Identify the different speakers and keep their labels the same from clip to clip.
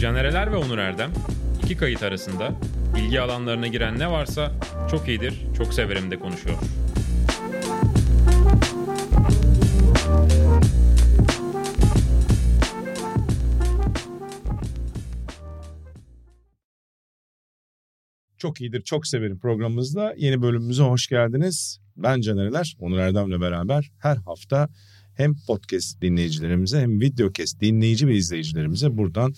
Speaker 1: Caner Eler ve Onur Erdem iki kayıt arasında ilgi alanlarına giren ne varsa çok iyidir, çok severim de konuşuyor.
Speaker 2: Çok iyidir, çok severim programımızda. Yeni bölümümüze hoş geldiniz. Ben Canereler, Onur Erdem'le beraber her hafta hem podcast dinleyicilerimize hem videocast dinleyici ve izleyicilerimize buradan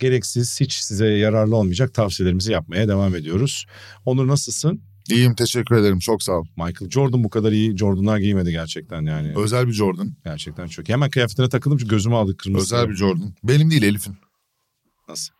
Speaker 2: gereksiz hiç size yararlı olmayacak tavsiyelerimizi yapmaya devam ediyoruz. Onur nasılsın?
Speaker 3: İyiyim teşekkür ederim çok sağ ol.
Speaker 2: Michael Jordan bu kadar iyi Jordan'lar giymedi gerçekten yani.
Speaker 3: Özel bir Jordan.
Speaker 2: gerçekten çok. iyi. Hemen kıyafetine takıldım çünkü gözümü aldı kırmızı.
Speaker 3: Özel bir Jordan. Benim değil Elif'in.
Speaker 2: Nasıl?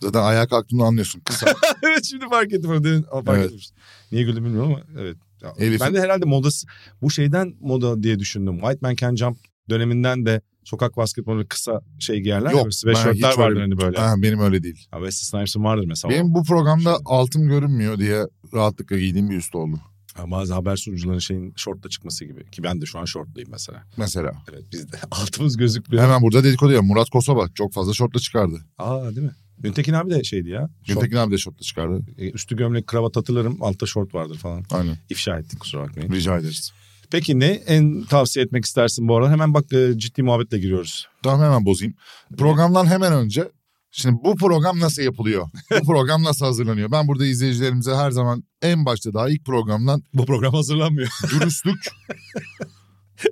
Speaker 3: Zaten ayağa kalktığımda anlıyorsun. Kısa.
Speaker 2: evet şimdi fark ettim onu. Demin, fark
Speaker 3: Evet.
Speaker 2: etmiştim. Niye güldüm bilmiyorum ama evet. Ya,
Speaker 3: Elif'in-
Speaker 2: Ben de herhalde modası bu şeyden moda diye düşündüm. White Man Can Jump döneminden de sokak basketbolu kısa şey giyerler.
Speaker 3: Yok,
Speaker 2: Yok. Sweatshirtler
Speaker 3: ben hiç
Speaker 2: vardır
Speaker 3: öyle-
Speaker 2: hani böyle.
Speaker 3: ha, benim öyle değil.
Speaker 2: Ya Wesley Snipes'ın vardır mesela.
Speaker 3: Benim bu programda altım görünmüyor diye rahatlıkla giydiğim bir üst oldu.
Speaker 2: Ha, bazı haber sunucuların şeyin şortla çıkması gibi. Ki ben de şu an şortluyum mesela.
Speaker 3: Mesela.
Speaker 2: Evet biz de altımız gözükmüyor.
Speaker 3: Hemen burada dedikodu ya Murat Kosova çok fazla şortla çıkardı.
Speaker 2: Aa değil mi? Güntekin abi de şeydi ya. Şort,
Speaker 3: Güntekin abi de şortla çıkardı.
Speaker 2: e, üstü gömlek kravat atılırım altta şort vardır falan.
Speaker 3: Aynen
Speaker 2: İfşa ettik kusura bakmayın.
Speaker 3: rica ederiz.
Speaker 2: Peki ne en tavsiye etmek istersin bu arada? Hemen bak e, ciddi muhabbetle giriyoruz.
Speaker 3: Tamam hemen bozayım. Programdan hemen önce şimdi bu program nasıl yapılıyor? bu program nasıl hazırlanıyor? Ben burada izleyicilerimize her zaman en başta daha ilk programdan
Speaker 2: Bu program hazırlanmıyor.
Speaker 3: dürüstlük,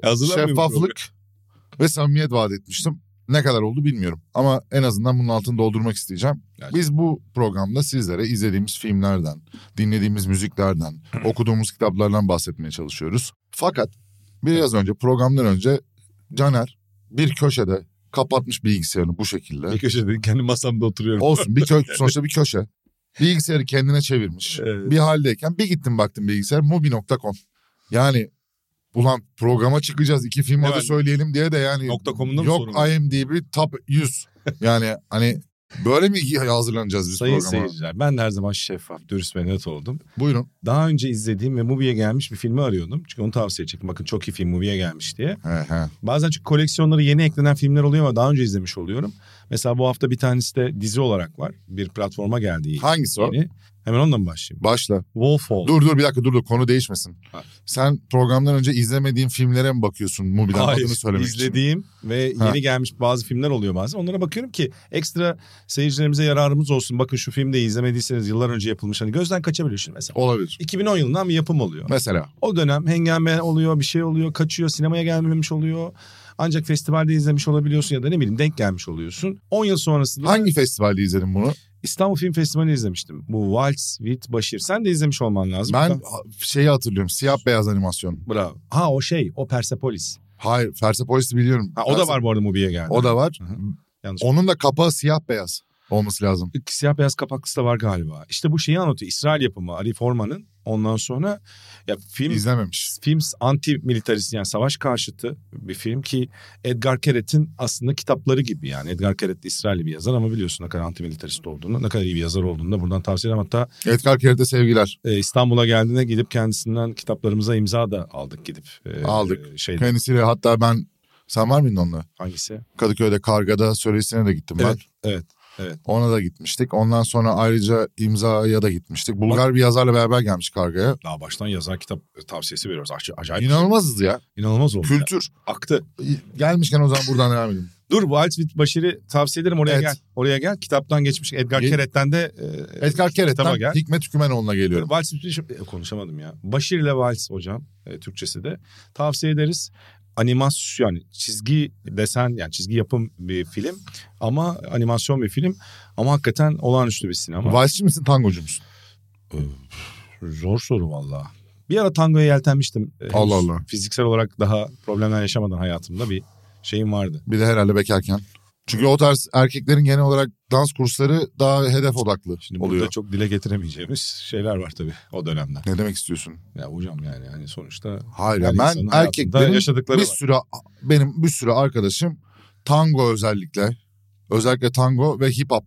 Speaker 2: hazırlanmıyor bu program.
Speaker 3: şeffaflık ve samimiyet vaat etmiştim. Ne kadar oldu bilmiyorum ama en azından bunun altını doldurmak isteyeceğim.
Speaker 2: Gerçekten.
Speaker 3: Biz bu programda sizlere izlediğimiz filmlerden, dinlediğimiz müziklerden,
Speaker 2: Hmm.
Speaker 3: okuduğumuz kitaplardan bahsetmeye çalışıyoruz. Fakat biraz önce programdan önce Caner bir köşede kapatmış bilgisayarını bu şekilde.
Speaker 2: Bir köşede kendi masamda oturuyorum.
Speaker 3: Olsun bir kö sonuçta bir köşe. Bilgisayarı kendine çevirmiş.
Speaker 2: Evet.
Speaker 3: Bir haldeyken bir gittim baktım bilgisayar mobi.com. Yani ulan programa çıkacağız iki film
Speaker 2: Ne
Speaker 3: adı
Speaker 2: var?
Speaker 3: söyleyelim diye de yani.
Speaker 2: Nokta com'da mı sorun
Speaker 3: Yok
Speaker 2: var?
Speaker 3: IMDB top 100. Yani hani böyle mi hazırlanacağız biz
Speaker 2: Sayın
Speaker 3: programa?
Speaker 2: seyirciler ben de her zaman şeffaf, dürüst ve net oldum.
Speaker 3: Buyurun.
Speaker 2: Daha önce izlediğim ve Mubi'ye gelmiş bir filmi arıyordum. Çünkü onu tavsiye edecektim. Bakın çok iyi film Mubi'ye gelmiş diye.
Speaker 3: He he.
Speaker 2: Bazen çünkü koleksiyonlara yeni eklenen filmler oluyor ama daha önce izlemiş oluyorum. Mesela bu hafta bir tanesi de dizi olarak var. Bir platforma geldi yeni.
Speaker 3: Hangisi o?
Speaker 2: Hemen ondan mı başlayayım?
Speaker 3: Başla.
Speaker 2: Wolf Hall.
Speaker 3: Dur dur bir dakika dur dur konu değişmesin.
Speaker 2: Ha.
Speaker 3: Sen programdan önce izlemediğin filmlere mi bakıyorsun Mubi'den adını söylemek için?
Speaker 2: izlediğim ve yeni
Speaker 3: Ha.
Speaker 2: gelmiş bazı filmler oluyor bazen. Onlara bakıyorum ki ekstra seyircilerimize yararımız olsun. Bakın şu filmde izlemediyseniz yıllar önce yapılmış. Hani gözden kaçabiliyor şimdi mesela.
Speaker 3: Olabilir.
Speaker 2: 2010 yılından bir yapım oluyor.
Speaker 3: Mesela.
Speaker 2: O dönem hengame oluyor, bir şey oluyor, kaçıyor, sinemaya gelmemiş oluyor. Ancak festivalde izlemiş olabiliyorsun ya da ne bileyim denk gelmiş oluyorsun. 10 yıl sonrasında
Speaker 3: Hangi festivalde izledin bunu?
Speaker 2: İstanbul Film Festivali izlemiştim. Bu Waltz with Bashir. Sen de izlemiş olman lazım.
Speaker 3: Ben şeyi hatırlıyorum. Siyah beyaz animasyon.
Speaker 2: Bravo. Ha o şey, o Persepolis.
Speaker 3: Hayır, Persepolis'i biliyorum.
Speaker 2: Ha, o da var bu arada Mubi'ye geldi.
Speaker 3: O da var.
Speaker 2: Hı hı. Yanlış.
Speaker 3: Onun da kapağı siyah beyaz olması lazım.
Speaker 2: siyah beyaz kapaklısı da var galiba. İşte bu şeyi anlatıyor. İsrail yapımı Ali Forman'ın. Ondan sonra ya film
Speaker 3: İzlememiş.
Speaker 2: film anti militarist yani savaş karşıtı bir film ki Edgar Keret'in aslında kitapları gibi yani Edgar Keret de İsrailli bir yazar ama biliyorsun ne kadar anti militarist olduğunu, ne kadar iyi bir yazar olduğunu da buradan tavsiye ederim. Hatta
Speaker 3: Edgar Keret'e sevgiler.
Speaker 2: e, İstanbul'a geldiğinde gidip kendisinden kitaplarımıza imza da aldık gidip. E,
Speaker 3: Aldık.
Speaker 2: e, şeyde,
Speaker 3: Kendisiyle hatta ben sen var mıydın onunla?
Speaker 2: hangisi?
Speaker 3: Kadıköy'de Karga'da söylesine de gittim
Speaker 2: Evet,
Speaker 3: ben.
Speaker 2: evet, evet.
Speaker 3: Ona da gitmiştik. Ondan sonra ayrıca imzaya da gitmiştik. Bulgar bir yazarla beraber gelmiş Karga'ya.
Speaker 2: Daha baştan yazar kitap tavsiyesi veriyoruz. Ac- Acayip.
Speaker 3: İnanılmazız ya.
Speaker 2: İnanılmaz oldu. ya.
Speaker 3: Kültür.
Speaker 2: Aktı.
Speaker 3: Gelmişken o zaman buradan devam edelim.
Speaker 2: Dur Wild with Başir'i tavsiye ederim oraya
Speaker 3: Evet.
Speaker 2: gel. Oraya gel. Kitaptan geçmiş Edgar
Speaker 3: Ye-
Speaker 2: Keret'ten de e,
Speaker 3: Edgar
Speaker 2: kitaba
Speaker 3: Keret'ten
Speaker 2: gel.
Speaker 3: Hikmet Hükümenoğlu'na geliyorum.
Speaker 2: Vals e, konuşamadım ya. Başir ile Vals hocam e, Türkçesi de tavsiye ederiz. Animasyon yani çizgi desen yani çizgi yapım bir film ama animasyon bir film ama hakikaten olağanüstü bir sinema.
Speaker 3: Valsçi misin tangocu musun?
Speaker 2: Zor soru valla. Bir ara tangoya yeltenmiştim. E, henüz
Speaker 3: Allah Allah.
Speaker 2: Fiziksel olarak daha problemler yaşamadan hayatımda bir şeyim vardı.
Speaker 3: Bir de herhalde bekarken. Çünkü o tarz erkeklerin genel olarak dans kursları daha hedef odaklı
Speaker 2: Şimdi
Speaker 3: oluyor.
Speaker 2: burada çok dile getiremeyeceğimiz şeyler var tabii o dönemde.
Speaker 3: Ne demek istiyorsun?
Speaker 2: Ya hocam yani hani sonuçta
Speaker 3: Hayır
Speaker 2: Her
Speaker 3: ben
Speaker 2: insanın hayatında
Speaker 3: erkeklerin
Speaker 2: yaşadıkları
Speaker 3: bir
Speaker 2: var.
Speaker 3: sürü benim bir sürü arkadaşım tango özellikle özellikle tango ve hip hop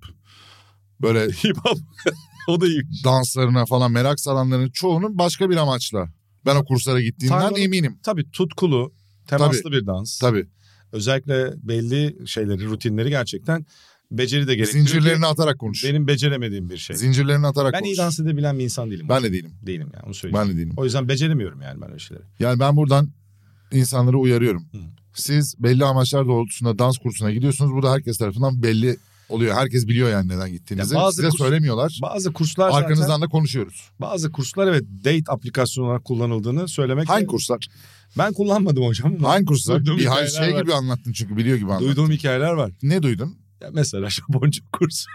Speaker 3: böyle
Speaker 2: hip hop o da iyi.
Speaker 3: danslarına falan merak saranların çoğunun başka bir amaçla ben o kurslara gittiğimden
Speaker 2: Tango'nun-
Speaker 3: eminim.
Speaker 2: Tabii tutkulu, temaslı bir dans.
Speaker 3: Tabii.
Speaker 2: Özellikle belli şeyleri, rutinleri gerçekten Beceri de gerektiriyor.
Speaker 3: Zincirlerini atarak konuş.
Speaker 2: Benim beceremediğim bir şey.
Speaker 3: Zincirlerini atarak
Speaker 2: Ben
Speaker 3: konuş.
Speaker 2: iyi dans edebilen bir insan değilim.
Speaker 3: Ben de değilim.
Speaker 2: Değilim yani onu söyleyeyim.
Speaker 3: Ben de değilim.
Speaker 2: O yüzden beceremiyorum yani ben öyle şeyleri.
Speaker 3: Yani ben buradan insanları uyarıyorum.
Speaker 2: Hı.
Speaker 3: Siz belli amaçlar doğrultusunda dans kursuna gidiyorsunuz. Bu da herkes tarafından belli oluyor. Herkes biliyor yani neden gittiğinizi.
Speaker 2: Ya bazı
Speaker 3: Size
Speaker 2: kurs-
Speaker 3: söylemiyorlar.
Speaker 2: Bazı kurslar
Speaker 3: Arkanızdan
Speaker 2: zaten
Speaker 3: da konuşuyoruz.
Speaker 2: bazı kurslar evet date aplikasyonu olarak kullanıldığını söylemek.
Speaker 3: Hangi kurslar?
Speaker 2: Ben kullanmadım hocam. ama
Speaker 3: Hangi kurslar?
Speaker 2: Duyduğum
Speaker 3: Bir hay-
Speaker 2: hikayeler
Speaker 3: şey
Speaker 2: var.
Speaker 3: gibi anlattın çünkü biliyor gibi anlattın.
Speaker 2: Duyduğum hikayeler var.
Speaker 3: Ne duydun?
Speaker 2: Ya mesela Japonca kursu.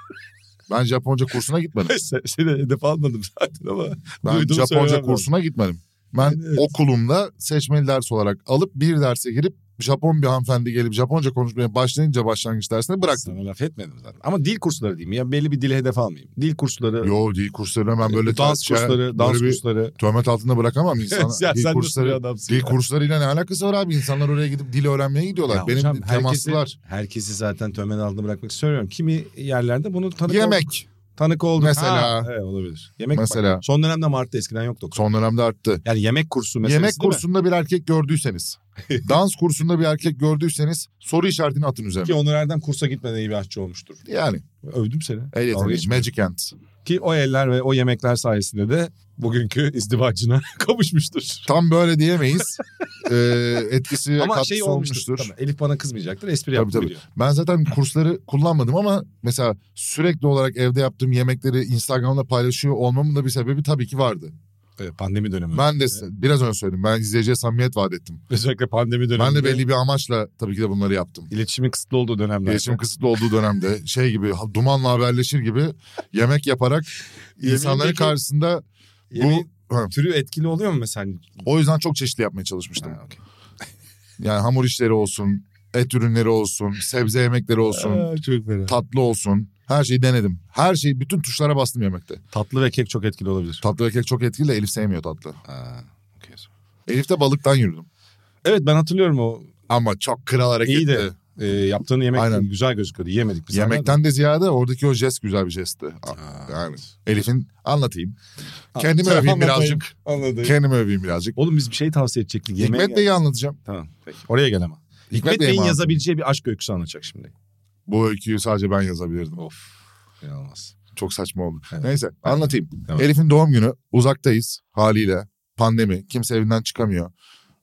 Speaker 3: Ben Japonca kursuna gitmedim.
Speaker 2: Mesela Seni hedef almadım zaten ama.
Speaker 3: Ben
Speaker 2: Duydum,
Speaker 3: Japonca
Speaker 2: söylemem.
Speaker 3: kursuna gitmedim. Ben
Speaker 2: Yani evet.
Speaker 3: okulumda seçmeli ders olarak alıp bir derse girip Japon bir hanımefendi gelip Japonca konuşmaya başlayınca başlangıç dersini bıraktım.
Speaker 2: Sana laf etmedim zaten. Ama dil kursları diyeyim ya belli bir dile hedef almayayım. Dil kursları, e,
Speaker 3: Yo dil kurslarına ben böyle
Speaker 2: dans
Speaker 3: şey-
Speaker 2: kursları, dans
Speaker 3: böyle bir
Speaker 2: kursları.
Speaker 3: Töhmet altında bırakamam insanı.
Speaker 2: Ya sen
Speaker 3: dil
Speaker 2: nasıl bir
Speaker 3: kursları,
Speaker 2: adamsın?
Speaker 3: dil
Speaker 2: ya?
Speaker 3: kurslarıyla ne alakası var abi? İnsanlar oraya gidip dil öğrenmeye gidiyorlar.
Speaker 2: Ya
Speaker 3: Benim
Speaker 2: hocam,
Speaker 3: temaslılar.
Speaker 2: Herkesi, herkesi zaten tömen altında bırakmak istiyorum. Kimi yerlerde bunu tanık olduk.
Speaker 3: Yemek
Speaker 2: Tanık olduk.
Speaker 3: Mesela.
Speaker 2: Ha, evet, olabilir. Yemek
Speaker 3: Mesela.
Speaker 2: Bak, son dönemde Mart'ta eskiden yoktu.
Speaker 3: son dönemde arttı.
Speaker 2: Yani yemek kursu meselesi
Speaker 3: Yemek
Speaker 2: değil mi?
Speaker 3: kursunda bir erkek gördüyseniz, dans kursunda bir erkek gördüyseniz soru işaretini atın üzerine.
Speaker 2: Ki Onur Erdem kursa gitmeden iyi bir aşçı olmuştur.
Speaker 3: Yani
Speaker 2: Övdüm seni.
Speaker 3: el
Speaker 2: Dalga
Speaker 3: yeteneği,
Speaker 2: geçme.
Speaker 3: Magic Hands.
Speaker 2: Ki o eller ve o yemekler sayesinde de bugünkü izdivacına kavuşmuştur.
Speaker 3: Tam böyle diyemeyiz. Ee, etkisi ve
Speaker 2: Ama
Speaker 3: katkısı
Speaker 2: şey olmuştur.
Speaker 3: olmuştur.
Speaker 2: Tamam, Elif bana kızmayacaktır. Espri
Speaker 3: Tabii,
Speaker 2: yaptım
Speaker 3: tabii.
Speaker 2: biliyor.
Speaker 3: Ben zaten kursları kullanmadım ama mesela sürekli olarak evde yaptığım yemekleri Instagram'da paylaşıyor olmamın da bir sebebi tabii ki vardı.
Speaker 2: Evet, pandemi dönemi.
Speaker 3: Ben de s- biraz önce söyledim. Ben izleyiciye samimiyet vaat ettim.
Speaker 2: Özellikle pandemi döneminde.
Speaker 3: Ben de belli bir amaçla tabii ki de bunları yaptım.
Speaker 2: iletişimin kısıtlı olduğu dönemlerde.
Speaker 3: İletişim kısıtlı olduğu dönemde şey gibi ha- dumanla haberleşir gibi yemek yaparak insanların
Speaker 2: Yemeğindeki-
Speaker 3: karşısında
Speaker 2: Yemeğin
Speaker 3: bu Ha,
Speaker 2: türü etkili oluyor mu mesela? Hani
Speaker 3: o yüzden çok çeşitli yapmaya çalışmıştım.
Speaker 2: Ha, okey.
Speaker 3: Yani hamur işleri olsun, et ürünleri olsun, sebze yemekleri olsun,
Speaker 2: Aa, çok fena.
Speaker 3: tatlı olsun. Her şeyi denedim. Her şeyi bütün tuşlara bastım yemekte.
Speaker 2: Tatlı ve kek çok etkili olabilir.
Speaker 3: Tatlı ve kek çok etkili de Elif sevmiyor tatlı. Elif de balıktan yürüdüm.
Speaker 2: Evet ben hatırlıyorum o
Speaker 3: Ama çok kral hareketti.
Speaker 2: İyi de e, yaptığını yemek
Speaker 3: Aynen.
Speaker 2: güzel gözüküyordu. Yemedik biz.
Speaker 3: Yemekten de ziyade oradaki o jest güzel bir jestti.
Speaker 2: Aa,
Speaker 3: Yani
Speaker 2: evet.
Speaker 3: Elif'in anlatayım. Kendimi
Speaker 2: Tamam,
Speaker 3: öveyim
Speaker 2: anlatayım.
Speaker 3: birazcık.
Speaker 2: Anladım.
Speaker 3: Kendimi öveyim birazcık.
Speaker 2: Oğlum biz bir şey tavsiye edecektik. Yemeğe
Speaker 3: Hikmet Bey'i anlatacağım.
Speaker 2: Tamam peki. Oraya gel ama. Hikmet,
Speaker 3: Bey'i
Speaker 2: Bey'in
Speaker 3: mi
Speaker 2: yazabileceği bir aşk öyküsü anlatacak şimdi.
Speaker 3: Bu öyküyü sadece ben yazabilirdim.
Speaker 2: Of. İnanılmaz.
Speaker 3: Çok saçma oldu.
Speaker 2: Evet.
Speaker 3: Neyse anlatayım.
Speaker 2: Tamam.
Speaker 3: Elif'in doğum günü uzaktayız haliyle. Pandemi. Kimse evinden çıkamıyor.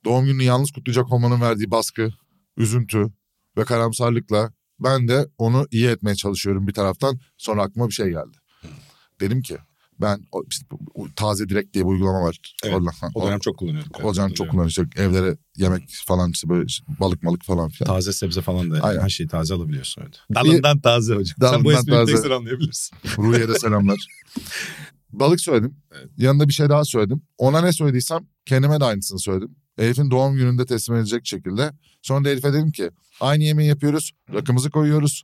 Speaker 3: Doğum gününü yalnız kutlayacak olmanın verdiği baskı, üzüntü ve karamsarlıkla ben de onu iyi etmeye çalışıyorum bir taraftan. Sonra aklıma bir şey geldi. Dedim ki ben o- o- taze direkt diye bir uygulama var.
Speaker 2: Evet,
Speaker 3: Oradan-
Speaker 2: O dönem çok kullanıyorduk. Evet,
Speaker 3: Hocam çok
Speaker 2: hatırlıyorum.
Speaker 3: kullanışlık. Evlere yemek falan işte böyle balık malık falan filan.
Speaker 2: Taze sebze falan da yani
Speaker 3: Aynen.
Speaker 2: her şeyi taze alabiliyorsun. Evet. Dalından taze hocam. Sen bu
Speaker 3: Dalından
Speaker 2: espriyi tek
Speaker 3: taze.
Speaker 2: sen anlayabilirsin.
Speaker 3: Ruhiye de selamlar. Balık söyledim. Yanında bir şey daha söyledim. Ona ne söylediysem kendime de aynısını söyledim. Elif'in doğum gününde teslim edecek şekilde. Sonra da Elif'e dedim ki aynı yemeği yapıyoruz. Rakımızı koyuyoruz.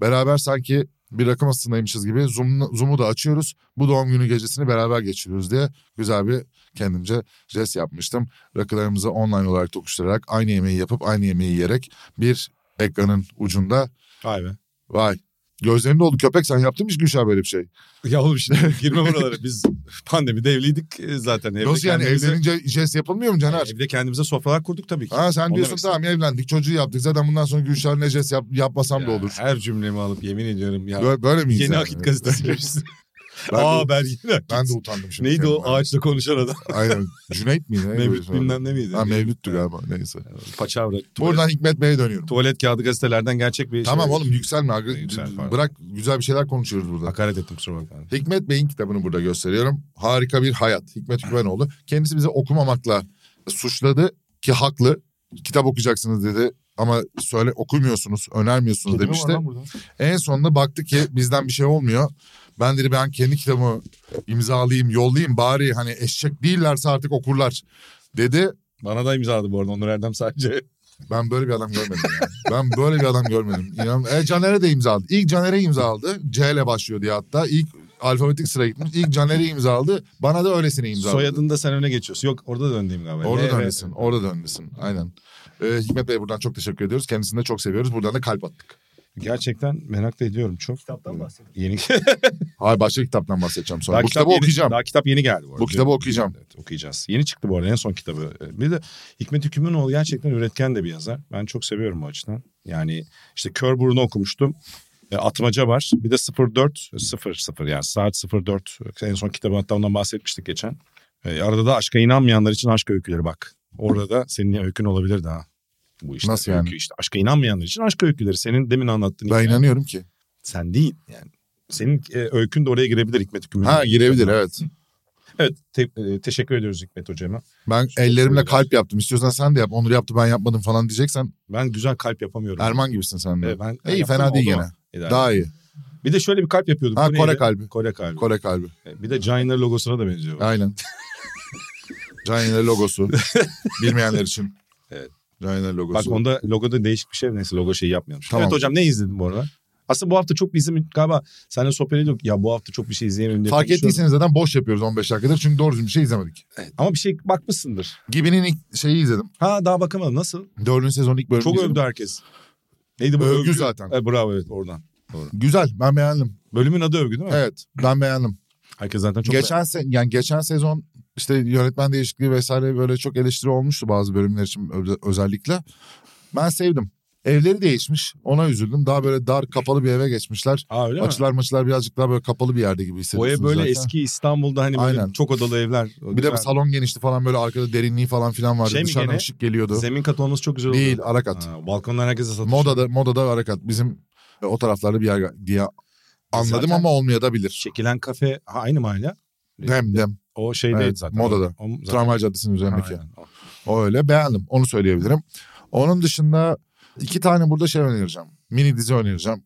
Speaker 3: Beraber sanki bir rakı masasındaymışız gibi Zoom'u Zoom'u da açıyoruz. Bu doğum günü gecesini beraber geçiriyoruz diye güzel bir kendimce jest yapmıştım. Rakılarımızı online olarak tokuşturarak aynı yemeği yapıp aynı yemeği yiyerek bir ekranın ucunda
Speaker 2: Vay be.
Speaker 3: vay gözlerinde oldu köpek sen yaptın mı hiç Gülşah böyle bir şey?
Speaker 2: Ya oğlum şimdi girme buralara. Biz pandemide evliydik e, zaten. Evde Ee,
Speaker 3: Nasıl yani
Speaker 2: kendimize-
Speaker 3: evlenince jest yapılmıyor mu Caner?
Speaker 2: Evde kendimize sofralar kurduk tabii ki.
Speaker 3: Ha sen
Speaker 2: Onu
Speaker 3: diyorsun
Speaker 2: demek
Speaker 3: tamam evlendik çocuğu yaptık zaten bundan sonra Gülşah'ın ne jest yap, yapmasam da
Speaker 2: Ya,
Speaker 3: olur.
Speaker 2: Her cümlemi alıp yemin ediyorum ya.
Speaker 3: Böyle, böyle miyiz
Speaker 2: Yeni
Speaker 3: yani?
Speaker 2: Akit gazetesi gibisin.
Speaker 3: Ben, de-
Speaker 2: Aa ben yeni Akit.
Speaker 3: ben de utandım şimdi.
Speaker 2: Neydi o
Speaker 3: kendime.
Speaker 2: ağaçla konuşan adam?
Speaker 3: Aynen Cüneyt miydi? Neydi böyle
Speaker 2: Mevlüt
Speaker 3: sonra?
Speaker 2: bilmem ne miydi?
Speaker 3: Ha Mevlüt'tü galiba neyse.
Speaker 2: Paçavra. Tuvalet,
Speaker 3: Buradan Hikmet Bey'e dönüyorum.
Speaker 2: tuvalet kağıdı gazetelerden gerçek bir
Speaker 3: tamam
Speaker 2: şey.
Speaker 3: oğlum yükselme. agre-
Speaker 2: Yüksel, pardon.
Speaker 3: Bırak güzel bir şeyler konuşuyoruz burada.
Speaker 2: Hakaret ettim kusura bakma.
Speaker 3: Hikmet Bey'in kitabını burada gösteriyorum. Harika bir hayat. Hikmet Güvenoğlu. Kendisi bize okumamakla suçladı ki haklı. Kitap okuyacaksınız dedi ama söyle okumuyorsunuz, önermiyorsunuz demişti. En sonunda baktı ki bizden bir şey olmuyor. Ben dedi ben kendi kitabımı imzalayayım, yollayayım bari hani eşek değillerse artık okurlar dedi.
Speaker 2: Bana da imzaladı bu arada Onur Erdem sadece.
Speaker 3: Ben böyle bir adam görmedim ya. Ben böyle bir adam görmedim. İnan, e, Caner'e de imzaladı. İlk Caner'e imzaladı. C ile başlıyor diye hatta. İlk alfabetik sıraya gitmiş. İlk Caner'e imzaladı. Bana da öylesine imzaladı.
Speaker 2: Soyadını da sen öne geçiyorsun. Yok orada da öndeyim galiba.
Speaker 3: Orada
Speaker 2: Evet.
Speaker 3: da öndesin. Orada da öndesin. Aynen. E, Hikmet Bey'e buradan çok teşekkür ediyoruz. Kendisini de çok seviyoruz. Buradan da kalp attık.
Speaker 2: Gerçekten merak da ediyorum çok.
Speaker 4: Kitaptan bahsediyorum.
Speaker 2: Yeni
Speaker 3: Hayır başka kitaptan bahsedeceğim sonra.
Speaker 2: Daha
Speaker 3: Bu
Speaker 2: kitap
Speaker 3: kitabı
Speaker 2: yeni-
Speaker 3: okuyacağım.
Speaker 2: Daha kitap yeni geldi bu arada.
Speaker 3: Bu kitabı okuyacağım.
Speaker 2: Evet, okuyacağız. Yeni çıktı bu arada en son kitabı. Ee, Bir de Hikmet Hükümünoğlu gerçekten üretken de bir yazar. Ben çok seviyorum o açıdan. Yani işte Kör Burun'u okumuştum. E, Atmaca var. Bir de 04 00 yani saat 04. En son kitabın hatta ondan bahsetmiştik geçen. E, arada da aşka inanmayanlar için aşk öyküleri bak. Orada da senin öykün olabilir daha. Bu işte
Speaker 3: Nasıl yani?
Speaker 2: öykü işte. Aşka inanmayanlar için aşk öyküleri. Senin demin anlattığın
Speaker 3: Ben
Speaker 2: hikaye.
Speaker 3: inanıyorum ki.
Speaker 2: Sen değil yani. Senin e, öykün de oraya girebilir Hikmet Hükümlü.
Speaker 3: Ha girebilir evet.
Speaker 2: Evet te- e, teşekkür ediyoruz Hikmet Hocama.
Speaker 3: Ben ellerimle kalp yaptım. İstiyorsan sen de yap. Onur yaptı ben yapmadım falan diyeceksen
Speaker 2: Ben güzel kalp yapamıyorum.
Speaker 3: Erman gibisin sen de.
Speaker 2: E, ben, ben
Speaker 3: iyi
Speaker 2: yaptım,
Speaker 3: fena değil
Speaker 2: oldu
Speaker 3: gene.
Speaker 2: mu? İdare.
Speaker 3: Daha iyi.
Speaker 2: Bir de şöyle bir kalp yapıyordum.
Speaker 3: Ha
Speaker 2: Bu
Speaker 3: Kore
Speaker 2: neydi?
Speaker 3: kalbi.
Speaker 2: Kore kalbi.
Speaker 3: Kore kalbi.
Speaker 2: E, Bir de Giant'lar logosuna da benziyor.
Speaker 3: Aynen. Cahin'in logosu. Bilmeyenler için.
Speaker 2: Evet.
Speaker 3: Cahin'in
Speaker 2: Bak
Speaker 3: logosu.
Speaker 2: onda logoda değişik bir şey. Neyse logo şeyi yapmayalım.
Speaker 3: Tamam.
Speaker 2: Evet hocam ne izledin bu arada? Aslında bu hafta çok bizim galiba seninle sohbet ediyorduk. Ya bu hafta çok bir şey izleyemedim diye
Speaker 3: Fark
Speaker 2: konuşuyorduk.
Speaker 3: ettiyseniz zaten boş yapıyoruz 15 dakikadır. Çünkü doğru düzgün bir şey izlemedik.
Speaker 2: Evet, Ama bir şey bakmışsındır.
Speaker 3: Gibi'nin ilk şeyi izledim.
Speaker 2: Ha daha bakamadım. Nasıl?
Speaker 3: Dördüncü sezonun ilk bölümünü
Speaker 2: çok
Speaker 3: izledim.
Speaker 2: övdü herkes. Neydi bu?
Speaker 3: Övgü zaten.
Speaker 2: E, bravo evet oradan.
Speaker 3: Güzel ben beğendim.
Speaker 2: Bölümün adı övgü değil mi?
Speaker 3: Evet ben beğendim.
Speaker 2: Herkes zaten çok
Speaker 3: geçen se yani geçen sezon işte yönetmen değişikliği vesaire böyle çok eleştiri olmuştu bazı bölümler için ö- özellikle. Ben sevdim. Evleri değişmiş. Ona üzüldüm. Daha böyle dar kapalı bir eve geçmişler.
Speaker 2: Aa öyle mi?
Speaker 3: Açılar maçlar birazcık daha böyle kapalı bir yerde gibi
Speaker 2: O ev
Speaker 3: hissediyorsunuz.
Speaker 2: böyle
Speaker 3: zaten.
Speaker 2: eski İstanbul'da hani böyle
Speaker 3: Aynen.
Speaker 2: çok odalı evler. O
Speaker 3: Bir de
Speaker 2: güzel.
Speaker 3: salon genişti falan böyle arkada derinliği falan filan vardı.
Speaker 2: Şey mi
Speaker 3: Dışarıdan
Speaker 2: gene?
Speaker 3: ışık geliyordu.
Speaker 2: Zemin katı olması çok güzel oldu.
Speaker 3: Değil Arakat.
Speaker 2: Ha, balkondan herkese satış.
Speaker 3: Moda'da, Moda'da Arakat. Bizim e, o taraflarda bir yer diye anladım
Speaker 2: Zaten-
Speaker 3: ama olmayabilir.
Speaker 2: Şekilen kafe ha, aynı mahalle.
Speaker 3: Dem dem.
Speaker 2: O şeydeydi
Speaker 3: Evet,
Speaker 2: zaten.
Speaker 3: Moda'da.
Speaker 2: O, o zaten-
Speaker 3: Tramvay Caddesi'nin üzerindeki.
Speaker 2: Aynen.
Speaker 3: O öyle beğendim. Onu söyleyebilirim. Onun dışında iki tane burada şey önereceğim. Mini dizi önereceğim.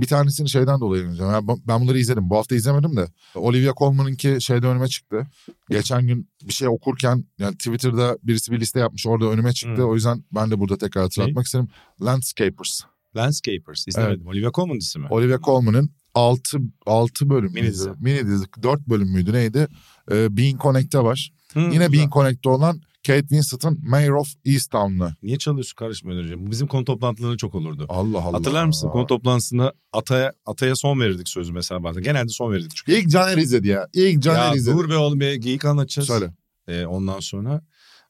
Speaker 3: Bir tanesini şeyden dolayı önereceğim. Ya bu- Ben bunları izledim. Bu hafta izlemedim de. Olivia Colman'ınki şeyde önüme çıktı. Geçen gün bir şey okurken yani Twitter'da birisi bir liste yapmış orada önüme çıktı.
Speaker 2: Hı.
Speaker 3: O yüzden ben de burada tekrar hatırlatmak
Speaker 2: Şey?
Speaker 3: isterim. Landscapers.
Speaker 2: Landscapers izlemedim. Olivia Colman dizisi mi?
Speaker 3: Olivia Colman'ın 6 6 bölüm
Speaker 2: Mini dizi.
Speaker 3: Mini dizi 4 bölüm müydü neydi? Ee, Being Connect'te var.
Speaker 2: Hı,
Speaker 3: Yine
Speaker 2: Hmm, güzel.
Speaker 3: Being Connect'te olan Kate Winslet'ın Mayor of Easttown'lı.
Speaker 2: Niye çalıyorsun karışma önereceğim. Bu bizim konu toplantıları çok olurdu.
Speaker 3: Allah Allah.
Speaker 2: Hatırlar mısın konu toplantısında ataya ataya son verirdik sözü mesela bazen. Genelde son verirdik çünkü.
Speaker 3: İlk Caner izledi ya. İlk Caner
Speaker 2: ya
Speaker 3: izledi.
Speaker 2: dur be oğlum bir geyik anlatacağız.
Speaker 3: Söyle.
Speaker 2: Ee, ondan sonra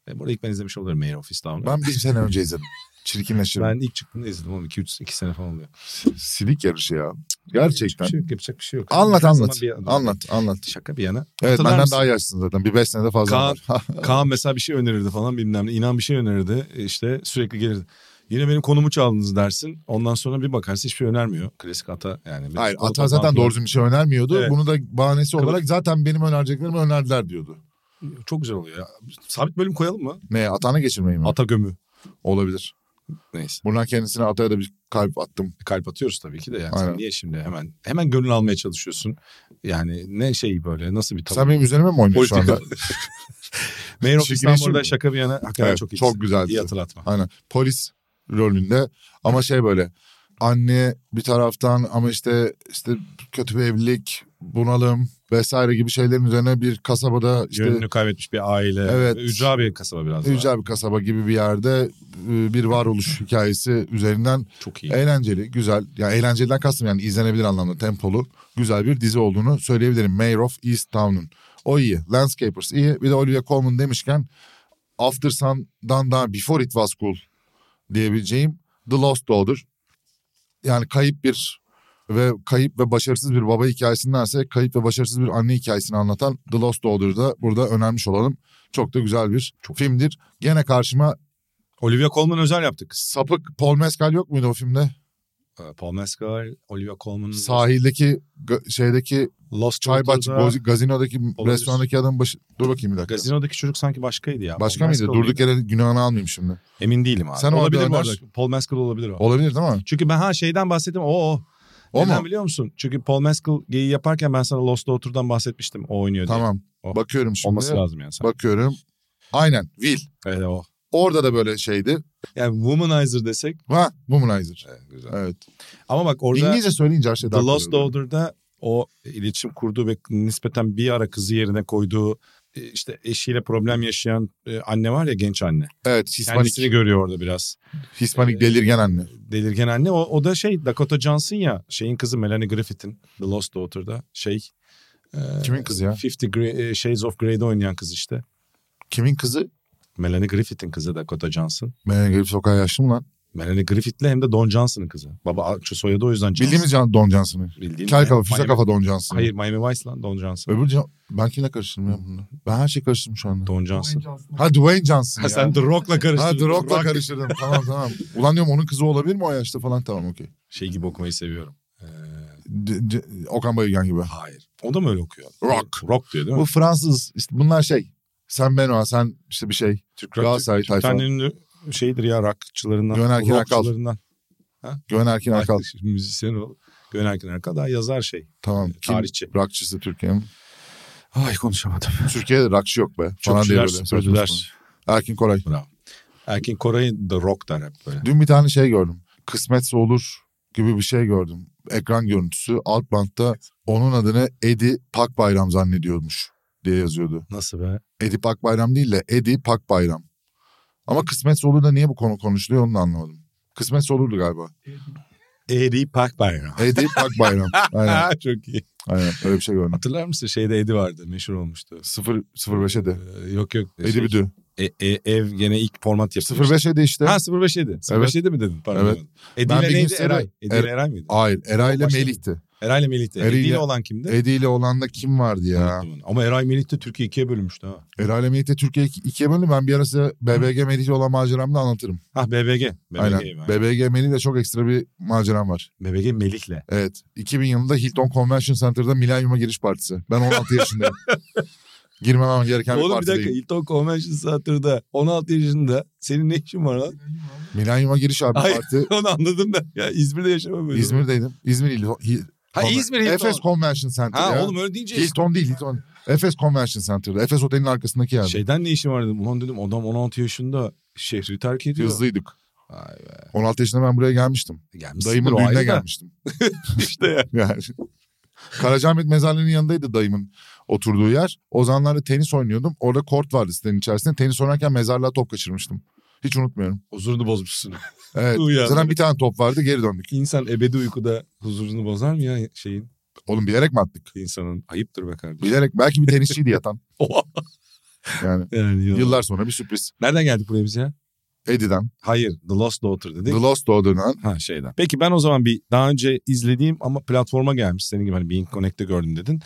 Speaker 2: e, burada ilk ben izlemiş olurum Mayor of Easttown'u. Ben,
Speaker 3: Ben bir sene önce izledim. Çirkinleşir.
Speaker 2: ilk çıktığında izledim oğlum 2 3 2 sene falan oluyor.
Speaker 3: Silik yarışı ya.
Speaker 2: Yapacak
Speaker 3: Gerçekten.
Speaker 2: bir şey yok, yapacak bir şey yok.
Speaker 3: Anlat
Speaker 2: Her
Speaker 3: anlat.
Speaker 2: zaman bir-
Speaker 3: Anlat anlat.
Speaker 2: Şaka bir yana.
Speaker 3: Evet
Speaker 2: Hatırlar
Speaker 3: benden
Speaker 2: mısın?
Speaker 3: daha yaşlısın zaten. Bir beş senede fazla
Speaker 2: Kaan.
Speaker 3: var.
Speaker 2: Kaan mesela bir şey önerirdi falan bilmem ne. İnan bir şey önerirdi. İşte sürekli gelirdi. Yine benim konumu çaldınız dersin. Ondan sonra bir bakarsın hiçbir şey önermiyor. Klasik ata yani.
Speaker 3: Hayır
Speaker 2: Konu
Speaker 3: Ata zaten
Speaker 2: toplantı-
Speaker 3: doğru düzgün bir şey önermiyordu.
Speaker 2: Evet.
Speaker 3: Bunu da bahanesi
Speaker 2: Kılıf.
Speaker 3: olarak zaten benim önereceklerimi önerdiler diyordu.
Speaker 2: Çok güzel oluyor ya. Sabit bölüm koyalım mı?
Speaker 3: Ne Ata'na geçirmeyi mi?
Speaker 2: Ata gömü.
Speaker 3: Olabilir.
Speaker 2: Neyse.
Speaker 3: Buradan kendisine Ata'ya da bir kalp attım.
Speaker 2: Kalp atıyoruz tabii ki de yani. Sen
Speaker 3: Aynen.
Speaker 2: niye şimdi hemen hemen gönül almaya çalışıyorsun? Yani ne şey böyle nasıl bir
Speaker 3: Sen
Speaker 2: tavır?
Speaker 3: benim üzerime mi oynuyorsun şu
Speaker 2: Politika.
Speaker 3: anda?
Speaker 2: Mayor of
Speaker 3: Çirkinleşiyor
Speaker 2: İstanbul'da
Speaker 3: mu?
Speaker 2: şaka bir yana hakikaten
Speaker 3: Evet,
Speaker 2: çok iyi.
Speaker 3: çok güzeldi.
Speaker 2: İyi hatırlatma.
Speaker 3: Aynen. Polis rolünde ama şey böyle anne bir taraftan ama işte işte kötü bir evlilik, bunalım vesaire gibi şeylerin üzerine bir kasabada işte
Speaker 2: Yönünü kaybetmiş bir aile.
Speaker 3: Evet.
Speaker 2: Ücra bir kasaba biraz daha.
Speaker 3: ücra bir kasaba gibi bir yerde e, bir varoluş hikayesi üzerinden
Speaker 2: Çok iyi.
Speaker 3: eğlenceli, güzel. Ya eğlenceliden kastım yani izlenebilir anlamda tempolu güzel bir dizi olduğunu söyleyebilirim. Mayor of East Town'un. O iyi. Landscapers iyi. Bir de Olivia Colman demişken After Sun'dan daha Before It Was Cool diyebileceğim The Lost Daughter. Yani kayıp bir ve kayıp ve başarısız bir baba hikayesindense kayıp ve başarısız bir anne hikayesini anlatan The Lost Daughter'ı da burada önermiş olalım. Çok da güzel bir filmdir. Gene karşıma
Speaker 2: Olivia Colman özel yaptık.
Speaker 3: sapık Paul Mescal yok muydu o filmde?
Speaker 2: Ee, Paul Mescal, Olivia Colman'ın
Speaker 3: Sahildeki ga- şeydeki
Speaker 2: Lost
Speaker 3: çay bahçesi
Speaker 2: Water'da-
Speaker 3: bozi- gazinodaki
Speaker 2: Olabilir.
Speaker 3: restorandaki adam başı dur bakayım bir dakika.
Speaker 2: Gazinodaki çocuk sanki başkaydı ya.
Speaker 3: Başka
Speaker 2: Paul
Speaker 3: mıydı?
Speaker 2: Mescal
Speaker 3: Durduk
Speaker 2: mıydı?
Speaker 3: yere günahını almayayım şimdi.
Speaker 2: Emin değilim abi.
Speaker 3: Sen orada
Speaker 2: olabilir bu
Speaker 3: Ömer-
Speaker 2: arada. Paul Mescal olabilir o.
Speaker 3: Olabilir değil mi?
Speaker 2: Çünkü ben ha şeyden bahsettim. O o.
Speaker 3: O
Speaker 2: Neden
Speaker 3: mu?
Speaker 2: biliyor musun? Çünkü Paul Mescal geyi yaparken ben sana Lost Daughter'dan bahsetmiştim. O oynuyor diye.
Speaker 3: Tamam.
Speaker 2: O.
Speaker 3: Bakıyorum şimdi.
Speaker 2: Olması lazım yani. Sen.
Speaker 3: Bakıyorum. Aynen. Will.
Speaker 2: Evet o.
Speaker 3: Orada da böyle şeydi.
Speaker 2: Yani Womanizer desek.
Speaker 3: Ha, Womanizer.
Speaker 2: Evet, güzel.
Speaker 3: Evet.
Speaker 2: Ama bak orada
Speaker 3: İngilizce söyleyince her şey
Speaker 2: The
Speaker 3: daha kolay
Speaker 2: Lost
Speaker 3: oluyor.
Speaker 2: Daughter'da o iletişim kurduğu ve nispeten bir ara kızı yerine koyduğu e, işte eşiyle problem yaşayan e, anne var ya genç anne.
Speaker 3: Evet. Hispanik,
Speaker 2: Kendisini görüyor orada biraz.
Speaker 3: Hispanik delirgen anne.
Speaker 2: delirgen anne. O, o da şey Dakota Johnson ya şeyin kızı Melanie Griffith'in The Lost Daughter'da şey. e,
Speaker 3: Kimin kızı ya?
Speaker 2: 50 Gra- e, Shades of Grey'de oynayan kız işte.
Speaker 3: Kimin kızı?
Speaker 2: Melanie Griffith'in kızı Dakota Johnson.
Speaker 3: Ben gelip sokağa yaşlı mı lan?
Speaker 2: Ben hani Griffith'le hem de Don Johnson'ın kızı. Baba soyadı o yüzden Johnson.
Speaker 3: Bildiğimiz can Don Johnson'ı.
Speaker 2: Bildiğin
Speaker 3: Kel
Speaker 2: yani.
Speaker 3: kafa, füze
Speaker 2: Miami-
Speaker 3: kafa Don Johnson'ı.
Speaker 2: Hayır Miami Vice lan Don Johnson.
Speaker 3: Öbür can... Ben kimle karıştırdım ya bunu? Ben her şeyi karıştırdım şu anda.
Speaker 2: Don Johnson.
Speaker 3: Ha Dwayne Johnson
Speaker 2: Ha,
Speaker 3: ya.
Speaker 2: sen The Rock'la karıştırdın.
Speaker 3: Ha The Rock'la
Speaker 2: Rock.
Speaker 3: karıştırdım. tamam tamam. Ulan diyorum onun kızı olabilir mi o yaşta falan tamam okey.
Speaker 2: Şey gibi okumayı seviyorum. Ee,
Speaker 3: C- C- Okan Bayülgen gibi.
Speaker 2: hayır. O da mı öyle okuyor?
Speaker 3: Rock.
Speaker 2: Rock diyor değil mi?
Speaker 3: Bu Fransız işte bunlar şey. Sen Benoa sen işte bir şey.
Speaker 2: Türk
Speaker 3: Galatasaray
Speaker 2: Türk- Türklerin ünlü şeydir ya rockçılarından.
Speaker 3: Güven Erkin Akal.
Speaker 2: rockçılarından.
Speaker 3: Güven Erkin Akal.
Speaker 2: Arkadaş, Müzisyen ol. Güven Erkin Erkal daha yazar şey.
Speaker 3: Tamam. Kim?
Speaker 2: Tarihçi.
Speaker 3: Rockçısı Türkiye'nin.
Speaker 2: Ay konuşamadım.
Speaker 3: Türkiye'de rockçı yok be.
Speaker 2: Çok
Speaker 3: Falan diye
Speaker 2: şeyler
Speaker 3: böyle. saçma sapan.
Speaker 2: söylediler.
Speaker 3: Erkin Koray.
Speaker 2: Erkin Koray'ın da rock der hep böyle.
Speaker 3: Dün bir tane şey gördüm. Kısmetse olur gibi bir şey gördüm. Ekran görüntüsü alt bantta onun adını Edi Pakbayram zannediyormuş diye yazıyordu.
Speaker 2: Nasıl be?
Speaker 3: Edi Pakbayram değil de Edi Pakbayram. Ama kısmetse olur da niye bu konu konuşuluyor onu da anlamadım. Kısmetse olurdu galiba.
Speaker 2: Eddie Park Bayram.
Speaker 3: Edi Pakbayram. Aynen,
Speaker 2: Ha, çok iyi.
Speaker 3: aynen öyle bir şey gördüm.
Speaker 2: Hatırlar mısın şeyde Eddie vardı meşhur olmuştu.
Speaker 3: 0 05 Edi.
Speaker 2: Ee, yok yok.
Speaker 3: Edi Büdü.
Speaker 2: E- e- ev gene ilk format yapıyor.
Speaker 3: 05 Edi işte.
Speaker 2: Ha 05 Edi. 05 Edi mi dedin? Pardon.
Speaker 3: Evet.
Speaker 2: Edi
Speaker 3: Ben
Speaker 2: ile
Speaker 3: bir gün
Speaker 2: neydi?
Speaker 3: sonra-
Speaker 2: Eray. Edi ile
Speaker 3: Er-
Speaker 2: Eray mıydı?
Speaker 3: Hayır Era ile
Speaker 2: Başka-
Speaker 3: Melih'ti.
Speaker 2: Eray ile Melih'ti.
Speaker 3: Eri
Speaker 2: Edi ile
Speaker 3: ile-
Speaker 2: olan kimdi?
Speaker 3: Edi ile olan da kim vardı ya?
Speaker 2: Unuttum onu. Ama Eray Melih de Türkiye ikiye bölünmüştü ha.
Speaker 3: Era ile Melih'te Türkiye iki- ikiye bölündü. Ben bir ara size BBG Melih'le olan maceramı da anlatırım.
Speaker 2: Ha BBG. BBG.
Speaker 3: Aynen. BBG Melih'le çok ekstra bir maceram var.
Speaker 2: BBG Melih'le.
Speaker 3: Evet. 2000 yılında Hilton Convention Center'da Milenyum'a giriş partisi. Ben 16 yaşındayım. Girmemem gereken bir
Speaker 2: Oğlum bir dakika
Speaker 3: partideyim.
Speaker 2: Hilton Convention Center'da 16 yaşında senin ne işin var lan?
Speaker 3: Milenyum'a giriş abi
Speaker 2: Hayır.
Speaker 3: parti.
Speaker 2: Onu anladım ben. Ya İzmir'de yaşamam böyle.
Speaker 3: İzmir'deydim. İzmir Hilton. Hil-
Speaker 2: Ha
Speaker 3: Conven-
Speaker 2: İzmir Hilton.
Speaker 3: Efes Convention Center
Speaker 2: Ha
Speaker 3: ya.
Speaker 2: oğlum öyle deyince
Speaker 3: Hilton değil Hilton. Efes Convention Center'da. Efes Otel'in arkasındaki yer.
Speaker 2: şeyden ne işin var dedim. Ulan dedim adam 16 yaşında şehri terk ediyor.
Speaker 3: Hızlıydık.
Speaker 2: Vay be.
Speaker 3: 16 yaşında ben buraya gelmiştim.
Speaker 2: Gelmişsin
Speaker 3: Dayımın
Speaker 2: o ayrı
Speaker 3: düğününe
Speaker 2: da.
Speaker 3: gelmiştim.
Speaker 2: İşte ya.
Speaker 3: Yani. Karacaahmet mezarlığının yanındaydı dayımın oturduğu yer. O zamanlarda tenis oynuyordum. Orada kort vardı sitenin içerisinde. Tenis oynarken mezarlığa top kaçırmıştım. Hiç unutmuyorum.
Speaker 2: Huzurunu bozmuşsun.
Speaker 3: Evet.
Speaker 2: Uyandı.
Speaker 3: Zaten bir tane top vardı geri döndük.
Speaker 2: İnsan ebedi uykuda huzurunu bozar mı ya şeyin?
Speaker 3: Oğlum bilerek mi attık?
Speaker 2: insanın ayıptır be kardeşim.
Speaker 3: Bilerek. Belki bir tenisçiydi yatan.
Speaker 2: Oha.
Speaker 3: Yani
Speaker 2: Yani yok.
Speaker 3: yıllar sonra bir sürpriz.
Speaker 2: Nereden geldik buraya biz ya?
Speaker 3: Eddie'den.
Speaker 2: Hayır The Lost Daughter
Speaker 3: The
Speaker 2: dedik.
Speaker 3: Lost Daughter'dan.
Speaker 2: Ha şeyden. Peki ben o zaman bir daha önce izlediğim ama platforma gelmiş. Senin gibi hani Being Connect'te gördüm dedin.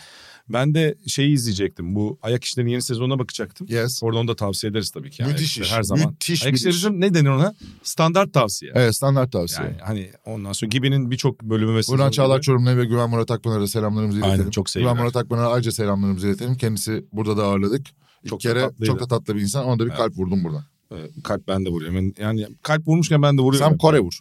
Speaker 2: Ben de şeyi izleyecektim. Bu Ayak İşleri'nin yeni sezonuna bakacaktım.
Speaker 3: Yes.
Speaker 2: Oradan da tavsiye ederiz tabii ki. Ayak
Speaker 3: müthiş
Speaker 2: İşleri
Speaker 3: iş.
Speaker 2: Her zaman.
Speaker 3: Müthiş
Speaker 2: Ayak
Speaker 3: bir
Speaker 2: İşleri
Speaker 3: iş.
Speaker 2: bizim ne denir ona? Standart tavsiye.
Speaker 3: Evet standart tavsiye.
Speaker 2: Yani hani ondan sonra Gibi'nin birçok bölümü ve
Speaker 3: Buradan
Speaker 2: sezonu
Speaker 3: Çağlar
Speaker 2: gibi.
Speaker 3: Çorumlu ve Güven Murat Akpınar'a selamlarımızı iletelim.
Speaker 2: Aynen, çok sevgiler.
Speaker 3: Güven Murat Akpınar'a ayrıca selamlarımızı iletelim. Kendisi burada da ağırladık. İlk
Speaker 2: Çok da
Speaker 3: kere
Speaker 2: tatlıydı.
Speaker 3: çok da tatlı bir insan. Ona da bir
Speaker 2: Evet.
Speaker 3: kalp vurdum buradan.
Speaker 2: Ee, kalp ben de vuruyorum. Yani- Yani kalp vurmuşken ben de vuruyorum.
Speaker 3: Sam Kore vur.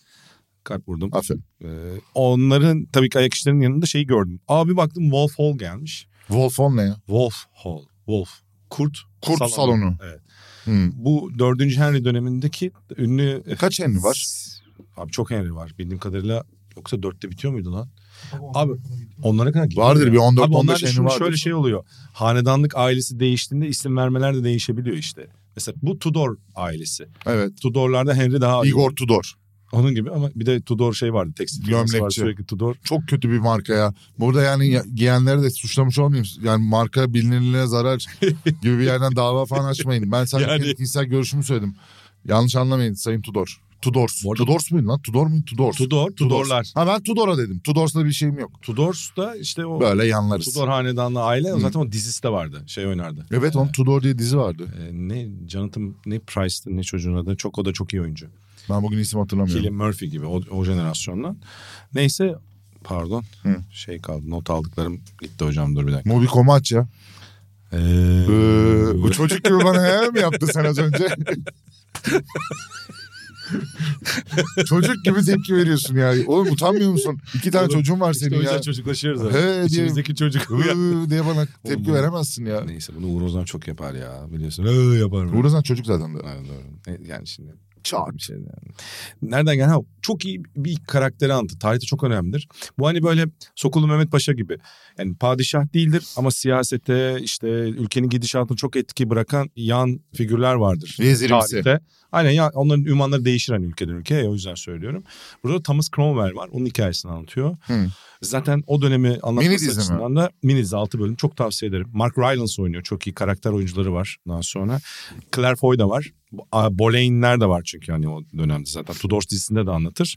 Speaker 2: kalp vurdum.
Speaker 3: Aferin.
Speaker 2: Ee, onların tabii ki ayak işlerinin yanında şeyi gördüm. Abi baktım Wolf Hall gelmiş.
Speaker 3: Wolfon ne ya?
Speaker 2: Wolf Hall. Wolf. Kurt.
Speaker 3: Kurt
Speaker 2: salonu.
Speaker 3: salonu.
Speaker 2: Evet.
Speaker 3: Hmm.
Speaker 2: Bu 4. Henry dönemindeki ünlü...
Speaker 3: Kaç Henry var?
Speaker 2: Abi çok Henry var bildiğim kadarıyla. Yoksa 4'te bitiyor muydu lan? Abi onlara kadar gidiyor
Speaker 3: Vardır
Speaker 2: ya.
Speaker 3: bir 14
Speaker 2: Abi
Speaker 3: 15
Speaker 2: onlar da
Speaker 3: Henry
Speaker 2: şimdi
Speaker 3: vardır.
Speaker 2: şöyle şey oluyor. Hanedanlık ailesi değiştiğinde isim vermeler de değişebiliyor işte. Mesela bu Tudor ailesi.
Speaker 3: Evet.
Speaker 2: Tudorlarda Henry daha
Speaker 3: Igor Tudor.
Speaker 2: Onun gibi ama bir de Tudor şey vardı. Tekstil firması var,
Speaker 3: Gömlekçi.
Speaker 2: sürekli Tudor.
Speaker 3: Çok kötü bir marka ya. Burada yani ya- giyenleri de suçlamış olmayayım. Yani marka bilinirliğine zarar gibi bir yerden dava falan açmayın. Ben sadece
Speaker 2: Yani-
Speaker 3: kendi kişisel görüşümü söyledim. Yanlış anlamayın Sayın Tudor. Tudors.
Speaker 2: Bu arada-
Speaker 3: Tudors muydu lan? Tudor muydu? Tudor.
Speaker 2: Tudor, Tudorlar.
Speaker 3: Ha ben Tudor'a dedim. Tudors'la bir şeyim yok.
Speaker 2: Tudors da işte o
Speaker 3: Böyle yanlarız.
Speaker 2: Tudor hanedanlı aile
Speaker 3: Hı.
Speaker 2: zaten o dizisi de vardı. Şey oynardı.
Speaker 3: Evet onun Tudor diye dizi vardı.
Speaker 2: Ee, ne Jonathan ne Price'tı ne çocuğun adı. Çok o da çok iyi oyuncu.
Speaker 3: Ben bugün isim hatırlamıyorum.
Speaker 2: Cillian Murphy gibi o, o jenerasyondan. Neyse pardon.
Speaker 3: Hı.
Speaker 2: Şey kaldı. Not aldıklarım gitti hocam dur bir dakika.
Speaker 3: Mobi Komu aç ya.
Speaker 2: Ee,
Speaker 3: Ee, bu çocuk gibi bana he mi yaptı sen az önce? çocuk gibi tepki veriyorsun ya. Oğlum utanmıyor musun? İki tane
Speaker 2: Oğlum,
Speaker 3: çocuğun var
Speaker 2: işte
Speaker 3: senin
Speaker 2: o yüzden
Speaker 3: ya.
Speaker 2: çocuklaşıyoruz. abi.
Speaker 3: He diye-
Speaker 2: İçimizdeki çocuk uyan.
Speaker 3: Iıı diye bana tepki
Speaker 2: Oğlum.
Speaker 3: veremezsin ya.
Speaker 2: Neyse bunu Uğur Ozan çok yapar ya biliyorsun. Ee, yapar mı?
Speaker 3: Uğraşan çocuk zaten de.
Speaker 2: Evet, doğru. E, Yani şimdi
Speaker 3: Çağır.
Speaker 2: bir şey yani. Nereden gel? Ha, çok iyi bir karakteri anlatı. Tarihte çok önemlidir. Bu hani böyle Sokulu Mehmet Paşa gibi. Yani padişah değildir ama siyasete işte ülkenin gidişatını çok etki bırakan yan figürler vardır.
Speaker 3: Vezirimsi.
Speaker 2: Tarihte. Aynen ya onların ünvanları değişir hani ülkeden ülkeye o yüzden söylüyorum. Burada Thomas Cromwell var. Onun hikayesini anlatıyor.
Speaker 3: Hı.
Speaker 2: Zaten o dönemi
Speaker 3: Mini
Speaker 2: anlatması
Speaker 3: dizi mi?
Speaker 2: açısından da mini dizi 6 bölüm çok tavsiye ederim. Mark Rylance oynuyor. Çok iyi karakter oyuncuları var. Ondan sonra Claire Foy da var. A- Boleyn'ler de var çünkü hani o dönemde zaten. Tudors dizisinde de anlatır.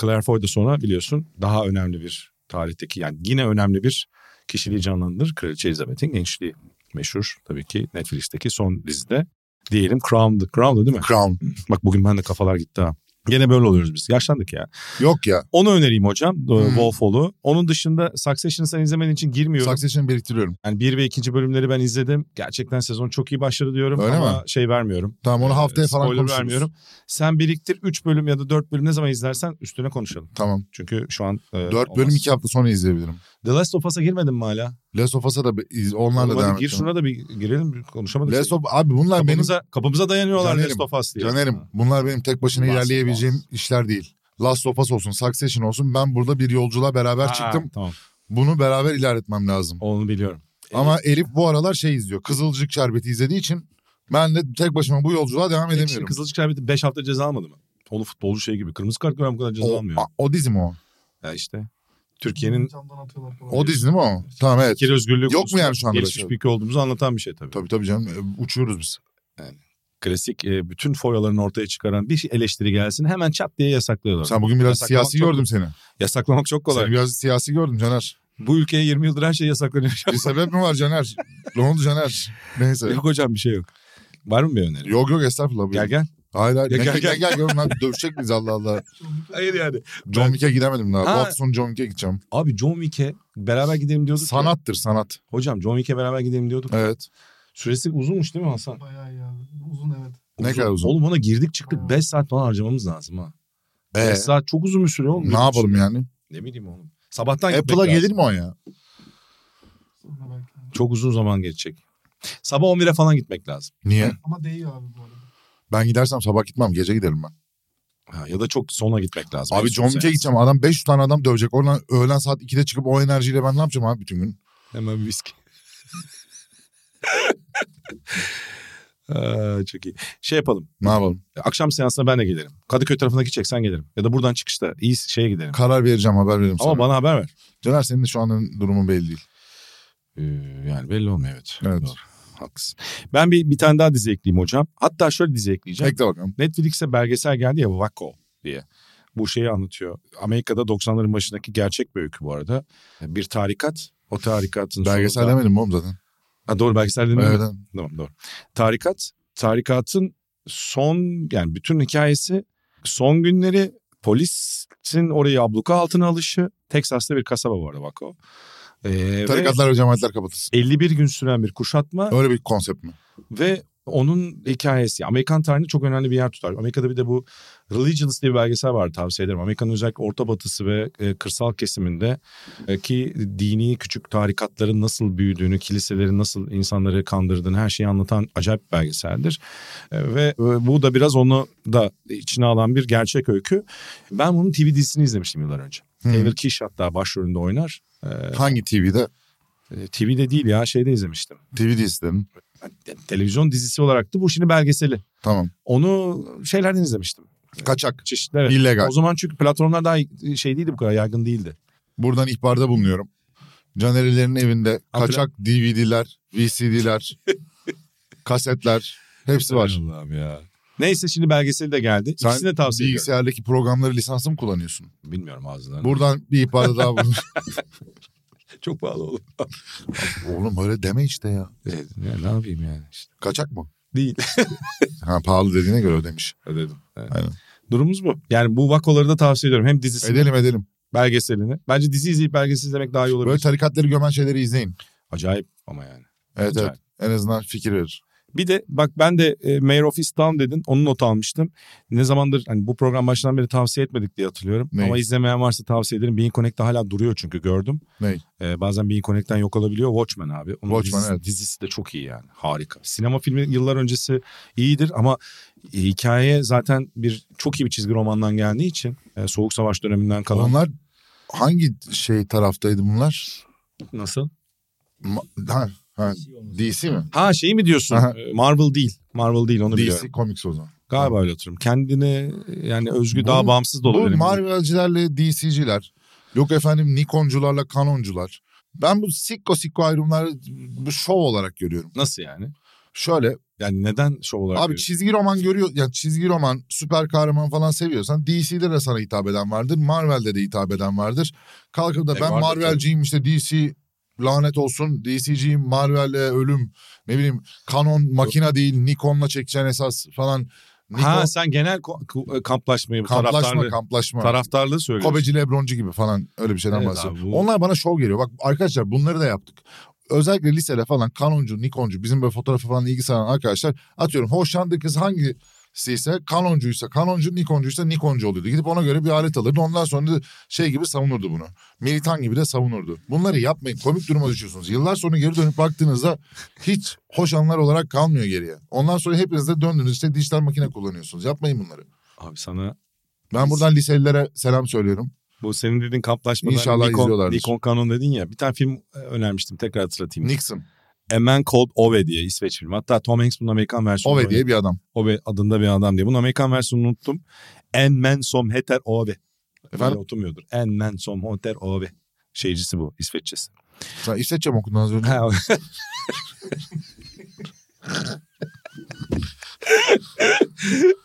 Speaker 2: Claire Foy da sonra biliyorsun daha önemli bir tarihteki yani yine önemli bir kişiliği canlandırır. Kraliçe Elizabeth'in gençliği meşhur tabii ki Netflix'teki son dizide. Diyelim Crown'dı. Crown'dı değil mi?
Speaker 3: Crown.
Speaker 2: Bak bugün ben de kafalar gitti ha. Gene böyle oluyoruz biz. Yaşlandık ya.
Speaker 3: Yok ya.
Speaker 2: Onu önereyim hocam.
Speaker 3: Hmm.
Speaker 2: Wolf Hall'u. Onun dışında Succession'ı sen izlemediğin için girmiyorum.
Speaker 3: Succession'ı biriktiriyorum.
Speaker 2: yani bir ve ikinci bölümleri ben izledim. Gerçekten sezon çok iyi başladı diyorum
Speaker 3: Öyle
Speaker 2: ama
Speaker 3: mi?
Speaker 2: şey vermiyorum.
Speaker 3: Tamam onu haftaya
Speaker 2: Ee,
Speaker 3: falan
Speaker 2: spoiler
Speaker 3: konuşuruz.
Speaker 2: vermiyorum. Sen biriktir 3 bölüm ya da 4 bölüm ne zaman izlersen üstüne konuşalım.
Speaker 3: Tamam.
Speaker 2: Çünkü şu an e,
Speaker 3: 4
Speaker 2: olmaz.
Speaker 3: bölüm 2 hafta sonra izleyebilirim.
Speaker 2: The Last of Us'a girmedin mi hala?
Speaker 3: Last of Us'a da bir iz- onlarla
Speaker 2: Oğlum hadi
Speaker 3: devam
Speaker 2: gir
Speaker 3: edeceğim.
Speaker 2: şuna da bir girelim bir konuşamadık.
Speaker 3: Last of abi bunlar benim
Speaker 2: kapımıza, kapımıza dayanıyorlar
Speaker 3: Canerim,
Speaker 2: Last of Us diye.
Speaker 3: Canerim
Speaker 2: Ha.
Speaker 3: bunlar benim tek başına
Speaker 2: Last of
Speaker 3: ilerleyebileceğim işler değil. Last of Us olsun, Succession olsun ben burada bir yolculuğa beraber
Speaker 2: Ha,
Speaker 3: çıktım.
Speaker 2: Tamam
Speaker 3: Bunu beraber ilerletmem lazım.
Speaker 2: onu biliyorum. E,
Speaker 3: Ama Elif bu aralar şey izliyor. Kızılcık Şerbeti izlediği için ben de tek başıma bu yolculuğa devam
Speaker 2: Edemiyorum.
Speaker 3: edemiyorum.
Speaker 2: Kızılcık Şerbeti 5 hafta ceza almadı mı? Onu futbolcu şey gibi. Kırmızı kart gören bu kadar ceza
Speaker 3: O,
Speaker 2: almıyor.
Speaker 3: a- o dizi mi o?
Speaker 2: Ya işte. Türkiye'nin
Speaker 3: O dizi değil mi o? Tamam evet.
Speaker 2: fikir özgürlüğü
Speaker 3: Yok mu
Speaker 2: konusunda
Speaker 3: yani şu anda
Speaker 2: gelişmiş
Speaker 3: şey?
Speaker 2: bir ülke olduğumuzu anlatan bir şey tabii.
Speaker 3: Tabii tabii canım e, uçuyoruz biz.
Speaker 2: Klasik e, bütün foyalarını ortaya çıkaran bir şey, eleştiri gelsin hemen çat diye yasaklıyorlar.
Speaker 3: Sen bugün biraz
Speaker 2: Yasaklamak
Speaker 3: siyasi
Speaker 2: çok-
Speaker 3: gördüm seni.
Speaker 2: Yasaklamak çok kolay.
Speaker 3: Seni biraz siyasi gördüm Caner.
Speaker 2: Bu ülkeye 20 yıldır her şey yasaklanıyor.
Speaker 3: Bir sebep mi var Caner? ne oldu Caner? Neyse.
Speaker 2: yok hocam bir şey yok. Var mı bir öneri?
Speaker 3: Yok yok estağfurullah. buyurun.
Speaker 2: Gel gel.
Speaker 3: Hayır hayır.
Speaker 2: Ya
Speaker 3: ne,
Speaker 2: gel,
Speaker 3: gel,
Speaker 2: gel.
Speaker 3: gel, gel, gel, lan. Dövüşecek miyiz Allah Allah.
Speaker 2: Hayır yani.
Speaker 3: John Wick'e gidemedim daha. Bu
Speaker 2: Ha.
Speaker 3: hafta sonu John Wick'e gideceğim.
Speaker 2: Abi John Wick'e beraber gidelim diyorduk. ya.
Speaker 3: Sanattır sanat.
Speaker 2: Hocam John Wick'e beraber gidelim diyorduk.
Speaker 3: Evet.
Speaker 2: Süresi uzunmuş değil mi Hasan?
Speaker 4: Bayağı iyi abi. Uzun evet.
Speaker 3: Ne kadar uzun?
Speaker 2: Oğlum ona girdik çıktık
Speaker 4: Ha.
Speaker 2: 5 saat falan harcamamız lazım ha.
Speaker 3: Ee,
Speaker 2: 5 saat çok uzun bir süre oğlum.
Speaker 3: ne yapalım yani?
Speaker 2: Ne bileyim oğlum. Sabahtan gitmek
Speaker 3: Apple'a
Speaker 2: lazım.
Speaker 3: gelir mi o ya?
Speaker 4: Sonra belki. abi.
Speaker 2: Çok uzun zaman geçecek. Sabah 11'e falan gitmek lazım.
Speaker 3: Niye?
Speaker 4: Ama değiyor abi bu arada.
Speaker 3: Ben gidersem sabah gitmem. Gece giderim ben.
Speaker 2: Ha, ya da çok sona gitmek lazım.
Speaker 3: Abi
Speaker 2: En
Speaker 3: John
Speaker 2: son
Speaker 3: Wick'e
Speaker 2: seans.
Speaker 3: gideceğim. Adam 500 tane adam dövecek. Oradan öğlen saat 2'de çıkıp o enerjiyle ben ne yapacağım abi bütün gün?
Speaker 2: Hemen bir viski. Aa, çok iyi. Şey yapalım.
Speaker 3: Ne yapalım?
Speaker 2: Akşam seansına ben de gelirim. Kadıköy tarafına gideceksen gelirim. Ya da buradan çıkışta iyi şeye gidelim.
Speaker 3: Karar vereceğim haber veririm sana.
Speaker 2: Ama bana haber ver.
Speaker 3: Caner senin de şu anın durumu belli değil.
Speaker 2: Ee, yani belli olmuyor evet.
Speaker 3: Evet.
Speaker 2: Doğru. Haklısın. Ben bir, bir tane daha dizi ekleyeyim hocam. Hatta şöyle dizi ekleyeceğim.
Speaker 3: Bekle bakalım.
Speaker 2: Netflix'e belgesel geldi ya Wacko diye. Bu şeyi anlatıyor. Amerika'da 90'ların başındaki gerçek bir öykü bu arada. Bir tarikat. O tarikatın
Speaker 3: Belgesel
Speaker 2: sonunda...
Speaker 3: demedim mi oğlum zaten.
Speaker 2: Ha, doğru belgesel demedim.
Speaker 3: Evet.
Speaker 2: Tamam doğru. Tarikat, tarikatın son yani bütün hikayesi son günleri polisin orayı abluka altına alışı. Texas'ta bir kasaba bu arada bak o. Ee, ve
Speaker 3: Tarikatlar ve cemaatler kapatılsın.
Speaker 2: 51 gün süren bir kuşatma
Speaker 3: Öyle bir konsept mi?
Speaker 2: ve onun hikayesi. Amerikan tarihinde çok önemli bir yer tutar. Amerika'da bir de bu Religious diye bir belgesel var tavsiye ederim. Amerika'nın özellikle orta batısı ve e, kırsal kesiminde e, ki dini küçük tarikatların nasıl büyüdüğünü, kiliselerin nasıl insanları kandırdığını her şeyi anlatan acayip bir belgeseldir. E, ve e, bu da biraz onu da içine alan bir gerçek öykü. Ben bunun TV dizisini izlemiştim yıllar önce.
Speaker 3: Hı.
Speaker 2: Taylor Kish hatta başrolünde oynar.
Speaker 3: Hangi TV'de?
Speaker 2: E, TV'de değil ya şeyde izlemiştim.
Speaker 3: TV istedim.
Speaker 2: Yani televizyon dizisi olarak da bu şimdi belgeseli.
Speaker 3: Tamam.
Speaker 2: Onu şeylerden izlemiştim.
Speaker 3: Kaçak.
Speaker 2: Çeşitli evet.
Speaker 3: illegal.
Speaker 2: O zaman çünkü platformlar daha şey değildi bu kadar yaygın değildi.
Speaker 3: Buradan ihbarda bulunuyorum. Canerilerin evinde
Speaker 2: Abla-
Speaker 3: kaçak DVD'ler, VCD'ler, kasetler hepsi var.
Speaker 2: Allah'ım ya. Neyse şimdi belgeseli de geldi.
Speaker 3: Sen
Speaker 2: İkisini de tavsiye ediyorum.
Speaker 3: bilgisayardaki programları lisansı mı kullanıyorsun?
Speaker 2: Bilmiyorum ağzından.
Speaker 3: Buradan bir ihbarda daha bulun.
Speaker 2: Çok pahalı oğlum.
Speaker 3: Oğlum öyle deme işte ya.
Speaker 2: ne yapayım yani işte.
Speaker 3: Kaçak mı?
Speaker 2: Değil.
Speaker 3: Ha pahalı dediğine göre ödemiş.
Speaker 2: Ödedim. Evet.
Speaker 3: Aynen.
Speaker 2: Durumumuz bu. Yani bu vakoları da tavsiye ediyorum. Hem dizisini,
Speaker 3: Edelim edelim.
Speaker 2: belgeselini. Bence dizi izleyip belgesel izlemek daha iyi olabilir.
Speaker 3: Böyle tarikatları gömen şeyleri izleyin.
Speaker 2: Acayip ama yani.
Speaker 3: Evet
Speaker 2: Acayip.
Speaker 3: evet. En azından fikir verir.
Speaker 2: Bir de bak ben de e, Mayor of Easttown dedin. Onu not almıştım. Ne zamandır hani bu program başından beri tavsiye etmedik diye hatırlıyorum.
Speaker 3: Neyi?
Speaker 2: Ama izlemeyen varsa tavsiye ederim. Bean Connect'te hala duruyor çünkü gördüm.
Speaker 3: Neyi?
Speaker 2: E, bazen Bean Connect'ten yok olabiliyor. Watchmen abi. Onun
Speaker 3: Watchmen,
Speaker 2: dizisi,
Speaker 3: evet.
Speaker 2: dizisi de çok iyi yani. Harika. Sinema filmi yıllar öncesi iyidir ama e, hikaye zaten bir çok iyi bir çizgi romandan geldiği için e, Soğuk Savaş döneminden kalan.
Speaker 3: Onlar hangi şey taraftaydı bunlar?
Speaker 2: Nasıl?
Speaker 3: Ma- ha, ha, DC mi?
Speaker 2: Ha şeyi mi diyorsun?
Speaker 3: Aha.
Speaker 2: E, Marvel değil. Marvel değil onu biliyorum.
Speaker 3: DC Comics o zaman.
Speaker 2: Galiba öyle hatırlıyorum. Kendini e, yani özgü
Speaker 3: Bu-
Speaker 2: daha bağımsız da
Speaker 3: Bu
Speaker 2: olabilir.
Speaker 3: Marvel'cilerle DC'ciler. Yok efendim Nikoncularla Canoncular. Ben bu sikko sikko ayrımları bu şov olarak görüyorum.
Speaker 2: Nasıl yani?
Speaker 3: Şöyle
Speaker 2: Yani neden şov olarak?
Speaker 3: Abi çizgi roman görüyor yani çizgi roman süper kahraman falan seviyorsan DC'de de sana hitap eden vardır. Marvel'de de hitap eden vardır. Kalkıp da
Speaker 2: E,
Speaker 3: ben
Speaker 2: vardır
Speaker 3: Marvel'ciyim işte DC lanet olsun DC'ciyim Marvel'le ölüm ne bileyim Canon makina değil Nikon'la çekeceğin esas falan. Nikon,
Speaker 2: ha sen genel ko- ku- e, kamplaşmayı, bu
Speaker 3: kamplaşma
Speaker 2: taraftarlığı,
Speaker 3: kamplaşma.
Speaker 2: taraftarlığı söylüyorsun.
Speaker 3: Kobeci Lebroncu gibi falan öyle bir şeyden
Speaker 2: şey. Evet
Speaker 3: bahsediyorum.
Speaker 2: abi bu-
Speaker 3: Onlar bana şov geliyor. Bak arkadaşlar bunları da yaptık. Özellikle lisede falan kanoncu, nikoncu bizim böyle fotoğrafı falan ilgi saran arkadaşlar atıyorum hoşlandığı kız hangisiyse kanoncuysa kanoncu, nikoncuysa nikoncu oluyordu. Gidip ona göre bir alet alırdı. Ondan sonra da şey gibi savunurdu bunu. Militan gibi de savunurdu. Bunları yapmayın. Komik duruma düşüyorsunuz. Yıllar sonra geri dönüp baktığınızda hiç hoş anlar olarak kalmıyor geriye. Ondan sonra hepiniz de döndünüz işte dijital makine kullanıyorsunuz. Yapmayın bunları.
Speaker 2: Abi sana
Speaker 3: Ben buradan liselilere selam söylüyorum.
Speaker 2: bu senin dediğin kamplaşmadan
Speaker 3: İnşallah
Speaker 2: Nikon,
Speaker 3: izliyorlardır.
Speaker 2: Nikon Canon dedin ya. Bir tane film e, önermiştim tekrar hatırlatayım.
Speaker 3: Nixon.
Speaker 2: A Man Called Ove diye İsveç filmi. Hatta Tom Hanks bunun Amerikan versiyonu.
Speaker 3: Ove
Speaker 2: oynuyor.
Speaker 3: diye bir adam.
Speaker 2: Ove adında bir adam diye. Bunun Amerikan versiyonunu unuttum. En men som heter Ove.
Speaker 3: Efendim?
Speaker 2: Böyle oturmuyordur. En men som heter Ove. Şeycisi bu İsveççesi.
Speaker 3: Sen İsveççe mi okudun az önce?
Speaker 2: Ha,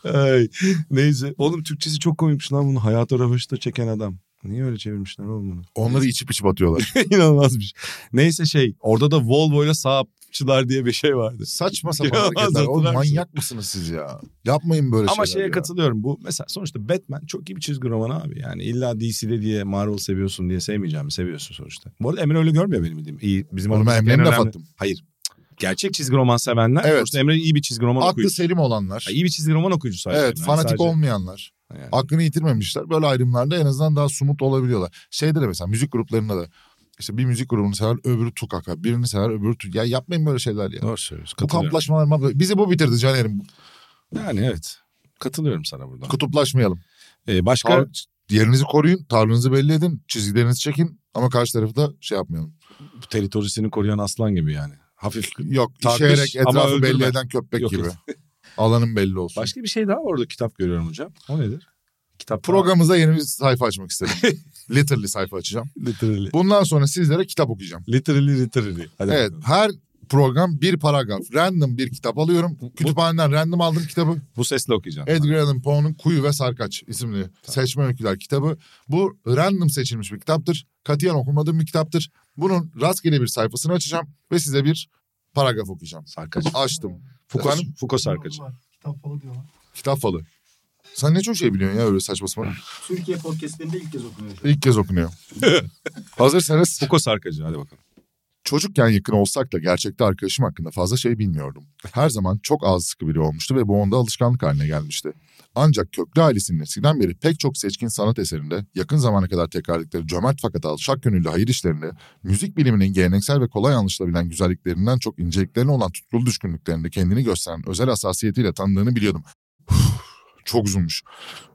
Speaker 2: Ay, neyse. Oğlum Türkçesi çok komikmiş lan bunu. Hayata Ravaş'ta çeken adam. Niye öyle çevirmişler oğlum bunu?
Speaker 3: Onları içip içip atıyorlar.
Speaker 2: İnanılmazmış. Neyse şey orada da Volvo ile Saapçılar diye bir şey vardı.
Speaker 3: Saçma
Speaker 2: Ya,
Speaker 3: sapan hareketler.
Speaker 2: anlattılar
Speaker 3: Oğlum
Speaker 2: mısın?
Speaker 3: manyak mısınız siz ya? Yapmayın böyle
Speaker 2: Ama
Speaker 3: şeyler
Speaker 2: şeye
Speaker 3: ya.
Speaker 2: katılıyorum. Bu mesela sonuçta Batman çok iyi bir çizgi roman abi. Yani illa DC'de diye Marvel seviyorsun diye sevmeyeceğim. Seviyorsun sonuçta. Bu arada Emre öyle görmüyor benim dediğim. İyi bizim
Speaker 3: Oğlum ben
Speaker 2: aramızdaki
Speaker 3: Emre'nin
Speaker 2: en
Speaker 3: laf
Speaker 2: önemli-
Speaker 3: attım.
Speaker 2: Hayır. Gerçek çizgi roman sevenler.
Speaker 3: Evet.
Speaker 2: Sonuçta Emre iyi bir çizgi roman
Speaker 3: Aklı
Speaker 2: okuyucusu.
Speaker 3: selim olanlar.
Speaker 2: Ha, iyi bir çizgi roman okuyucusu. ayrıca
Speaker 3: Evet
Speaker 2: yani.
Speaker 3: fanatik
Speaker 2: Sadece-
Speaker 3: olmayanlar.
Speaker 2: Yani.
Speaker 3: Aklını yitirmemişler. Böyle ayrımlarda en azından daha sumut olabiliyorlar. Şeyde de mesela müzik gruplarında da. işte bir müzik grubunu sever öbürü tukaka. Birini sever öbürü tukaka. Ya yapmayın böyle şeyler ya.
Speaker 2: Doğru söylüyorsun.
Speaker 3: Bu
Speaker 2: Katılıyorum.
Speaker 3: kamplaşmalar mabla- bizi bu bitirdi Caner'im.
Speaker 2: Yani evet. Katılıyorum sana burada.
Speaker 3: Kutuplaşmayalım.
Speaker 2: Ee, başka
Speaker 3: Tar- yerinizi koruyun, tavrınızı belli edin, çizgilerinizi çekin ama karşı tarafı da şey yapmayalım.
Speaker 2: bu teritorisini koruyan aslan gibi yani. Hafif
Speaker 3: Yok
Speaker 2: Tartış
Speaker 3: işeyerek
Speaker 2: ama
Speaker 3: etrafı
Speaker 2: öldürme.
Speaker 3: belli eden köpek
Speaker 2: Yok,
Speaker 3: gibi.
Speaker 2: yok.
Speaker 3: Alanın belli olsun.
Speaker 2: Başka bir şey daha orada kitap görüyorum hocam. O nedir? Kitap
Speaker 3: Programımıza yeni bir sayfa açmak istedim. Literally sayfa açacağım.
Speaker 2: Literally.
Speaker 3: Bundan sonra sizlere kitap okuyacağım.
Speaker 2: Literally literally. Hadi
Speaker 3: Evet
Speaker 2: bakalım.
Speaker 3: her program bir paragraf. Random bir kitap alıyorum. Kütüphaneden random aldım kitabı.
Speaker 2: Bu sesle okuyacağım.
Speaker 3: Edgar Allan Poe'nun Kuyu ve Sarkaç isimli seçme öyküler kitabı. Bu random seçilmiş bir kitaptır. Katiyen okumadığım bir kitaptır. Bunun rastgele bir sayfasını açacağım ve size bir paragraf okuyacağım.
Speaker 2: Sarkaç.
Speaker 3: Açtım.
Speaker 2: Foucault,
Speaker 3: Efendim?
Speaker 2: Foucault Sarkaç.
Speaker 4: Var, Kitap falı diyorlar.
Speaker 3: Kitap falı. Sen ne çok şey biliyorsun ya öyle saçma sapan.
Speaker 5: Türkiye podcastlerinde ilk kez okunuyor.
Speaker 3: İlk kez okunuyor. Hazırsanız
Speaker 2: Foucault Sarkacı hadi bakalım.
Speaker 3: çocukken yakın olsak da gerçekte arkadaşım hakkında fazla şey bilmiyordum. Her zaman çok ağzı sıkı biri olmuştu ve bu onda alışkanlık haline gelmişti. Ancak köklü ailesinin eskiden beri pek çok seçkin sanat eserinde yakın zamana kadar tekrarladıkları cömert fakat alçak gönüllü hayır işlerinde müzik biliminin geleneksel ve kolay anlaşılabilen güzelliklerinden çok inceliklerine olan tutkulu düşkünlüklerinde kendini gösteren özel hassasiyetiyle tanıdığını biliyordum. çok uzunmuş.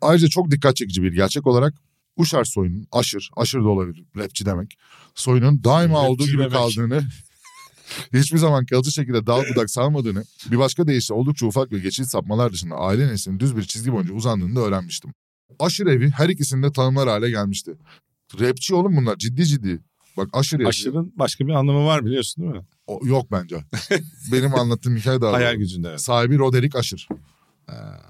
Speaker 3: Ayrıca çok dikkat çekici bir gerçek olarak Uşar soyunun aşır, aşır da olabilir rapçi demek. Soyunun daima
Speaker 2: Rapçi
Speaker 3: olduğu gibi
Speaker 2: demek.
Speaker 3: kaldığını, hiçbir zaman kalıcı şekilde dal budak salmadığını, bir başka deyişle oldukça ufak ve geçici sapmalar dışında aile neslinin düz bir çizgi boyunca uzandığını da öğrenmiştim. Aşır evi her ikisinde tanımlar hale gelmişti. Rapçi oğlum bunlar ciddi ciddi. Bak aşır evi.
Speaker 2: Aşırın başka bir anlamı var biliyorsun değil mi?
Speaker 3: O- yok bence. Benim anlattığım hikaye daha
Speaker 2: Hayal
Speaker 3: doğru.
Speaker 2: gücünde evet.
Speaker 3: Sahibi Roderick Aşır.
Speaker 2: Ha,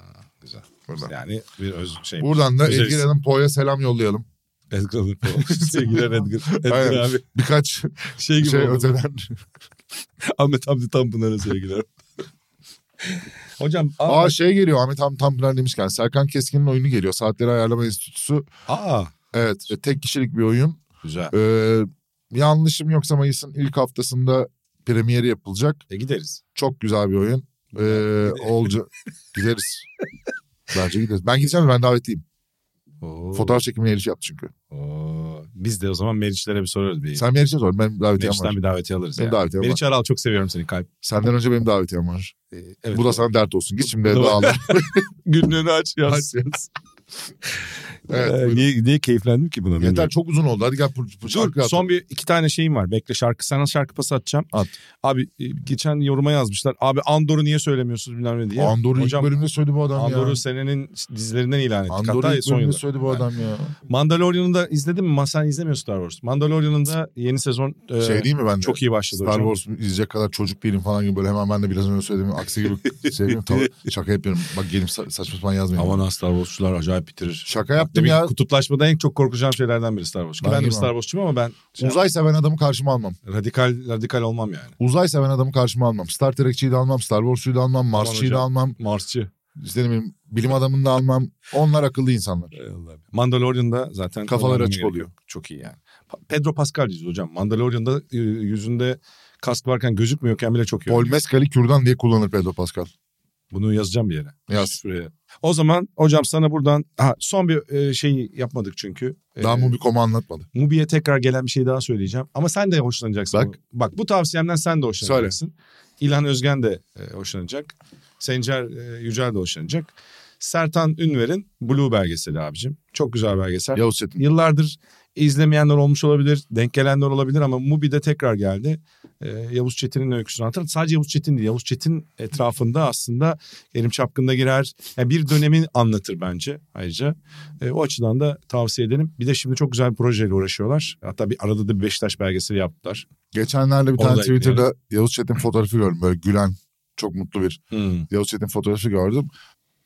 Speaker 2: güzel.
Speaker 3: Buradan,
Speaker 2: Yani bir öz şey.
Speaker 3: Buradan da
Speaker 2: Güzel
Speaker 3: Edgar Allan Poe'ya selam yollayalım.
Speaker 2: Edgar Allan Poe. Sevgiler Edgar. Edgar
Speaker 3: Aynen.
Speaker 2: abi.
Speaker 3: Birkaç
Speaker 2: Şey gibi
Speaker 3: şey
Speaker 2: oldu.
Speaker 3: öteden.
Speaker 2: Ahmet Hamdi Tanpınar'a sevgiler. Hocam. Aa,
Speaker 3: Aa şey geliyor Ahmet Ham Tanpınar demişken Serkan Keskin'in oyunu geliyor. Saatleri Ayarlama Enstitüsü.
Speaker 2: aa,
Speaker 3: Evet e, tek kişilik bir oyun.
Speaker 2: Güzel.
Speaker 3: Ee, yanlışım yoksa Mayıs'ın ilk haftasında premieri yapılacak.
Speaker 2: E, gideriz.
Speaker 3: Çok güzel bir oyun. Ee, olca gideriz. Bence gideriz. Ben gideceğim de ben davetliyim.
Speaker 2: Oo.
Speaker 3: Fotoğraf çekimine erişi yaptı çünkü.
Speaker 2: Oo. Biz de o zaman Meriç'lere bir soruyoruz. Bir.
Speaker 3: Sen bir erişe sor. Ben davetiyem var.
Speaker 2: Meriç'ten bir davetiye alırız.
Speaker 3: Benim
Speaker 2: ya.
Speaker 3: davetiyem var.
Speaker 2: Meriç Aral çok seviyorum seni kalp.
Speaker 3: Senden önce benim davetiyem var.
Speaker 2: Ee, evet.
Speaker 3: Bu da sana dert olsun. Git şimdi
Speaker 2: Doğru.
Speaker 3: dağılır.
Speaker 2: Günlüğünü aç yaz.
Speaker 3: Evet.
Speaker 2: Ee,
Speaker 3: buyurun.
Speaker 2: niye, niye keyiflendim ki buna?
Speaker 3: Yeter
Speaker 2: Bilmiyorum.
Speaker 3: çok uzun oldu. Hadi gel pır- pır-
Speaker 2: Dur
Speaker 3: şarkı
Speaker 2: son bir iki tane şeyim var. Bekle şarkı sana şarkı pası atacağım.
Speaker 3: At.
Speaker 2: Abi e, geçen yoruma yazmışlar. Abi Andor'u niye söylemiyorsunuz bilmem ne diye.
Speaker 3: Andor'u
Speaker 2: Hocam,
Speaker 3: ilk bölümde söyledi bu adam
Speaker 2: Andor'u
Speaker 3: ya.
Speaker 2: senenin dizilerinden ilan ettik.
Speaker 3: Andor'u
Speaker 2: Hatta
Speaker 3: ilk
Speaker 2: son
Speaker 3: bölümde
Speaker 2: yılda.
Speaker 3: söyledi bu adam ya.
Speaker 2: Mandalorian'ı da izledin mi? Ma- Sen izlemiyorsun Star Wars. Mandalorian'ın da yeni sezon e,
Speaker 3: Şey değil mi ben de?
Speaker 2: çok iyi başladı
Speaker 3: Star
Speaker 2: hocam.
Speaker 3: Wars'u izleyecek kadar çocuk değilim falan gibi böyle hemen ben de biraz önce söylediğim aksi gibi şey gibi tamam, şaka yapıyorum. Bak gelip sa- saçma sapan yazmayın.
Speaker 2: Aman ha Star Wars'çular acayip bitirir.
Speaker 3: Şaka yaptım
Speaker 2: Tabii
Speaker 3: ya.
Speaker 2: kutuplaşmada en çok korkacağım şeylerden biri Star Wars. Ki
Speaker 3: Ben
Speaker 2: Ben, de bir
Speaker 3: bilmem.
Speaker 2: Star Wars'çuyum ama ben şey-
Speaker 3: Uzay seven adamı karşıma almam.
Speaker 2: radikal radikal olmam yani.
Speaker 3: Uzay seven adamı karşıma almam. Star Trek'çiyi de almam. Star Wars'uyu da almam. Mars'çıyı da
Speaker 2: hocam.
Speaker 3: almam.
Speaker 2: Marsçı.
Speaker 3: İşte ne bileyim, bilim adamını da almam. Onlar akıllı insanlar.
Speaker 2: Şey Mandalorian'da zaten
Speaker 3: Kafaları
Speaker 2: kullanmam
Speaker 3: açık
Speaker 2: gerekiyor.
Speaker 3: oluyor.
Speaker 2: Çok iyi yani. Pa- Pedro Pascal diyoruz hocam. Mandalorian'da e, yüzünde kask varken gözükmüyorken bile çok iyi.
Speaker 3: Paul Mescal'i kürdan diye kullanır Pedro Pascal.
Speaker 2: Bunu yazacağım bir yere.
Speaker 3: Yaz.
Speaker 2: Şuraya. O zaman hocam sana buradan ha, son bir e, şey yapmadık çünkü. E,
Speaker 3: Daha Mubicom'u anlatmadı.
Speaker 2: Mubi'ye tekrar gelen bir şey daha söyleyeceğim. Ama sen de hoşlanacaksın.
Speaker 3: Bak.
Speaker 2: Bak bu tavsiyemden sen de hoşlanacaksın. İlhan Özgen de e, hoşlanacak. Sencer e, Yücel de hoşlanacak. Sertan Ünver'in Blue belgeseli abicim. Çok güzel belgesel.
Speaker 3: Yavuz Çetin.
Speaker 2: Yıllardır izlemeyenler olmuş olabilir, denk gelenler olabilir ama Mubi'de tekrar geldi. Ee, Yavuz Çetin'in öyküsünü anlatan. Sadece Yavuz Çetin değil, Yavuz Çetin etrafında aslında Kerim Çapkın'da girer. Yani bir dönemi anlatır bence ayrıca. Ee, o açıdan da tavsiye edelim. Bir de şimdi çok güzel bir projeyle uğraşıyorlar. Hatta bir arada da bir Beşiktaş belgeseli yaptılar.
Speaker 3: Geçenlerde bir
Speaker 2: Onu
Speaker 3: tane
Speaker 2: da ekleyelim.
Speaker 3: Twitter'da Yavuz Çetin fotoğrafı gördüm. Böyle gülen, çok mutlu bir Yavuz Çetin fotoğrafı gördüm.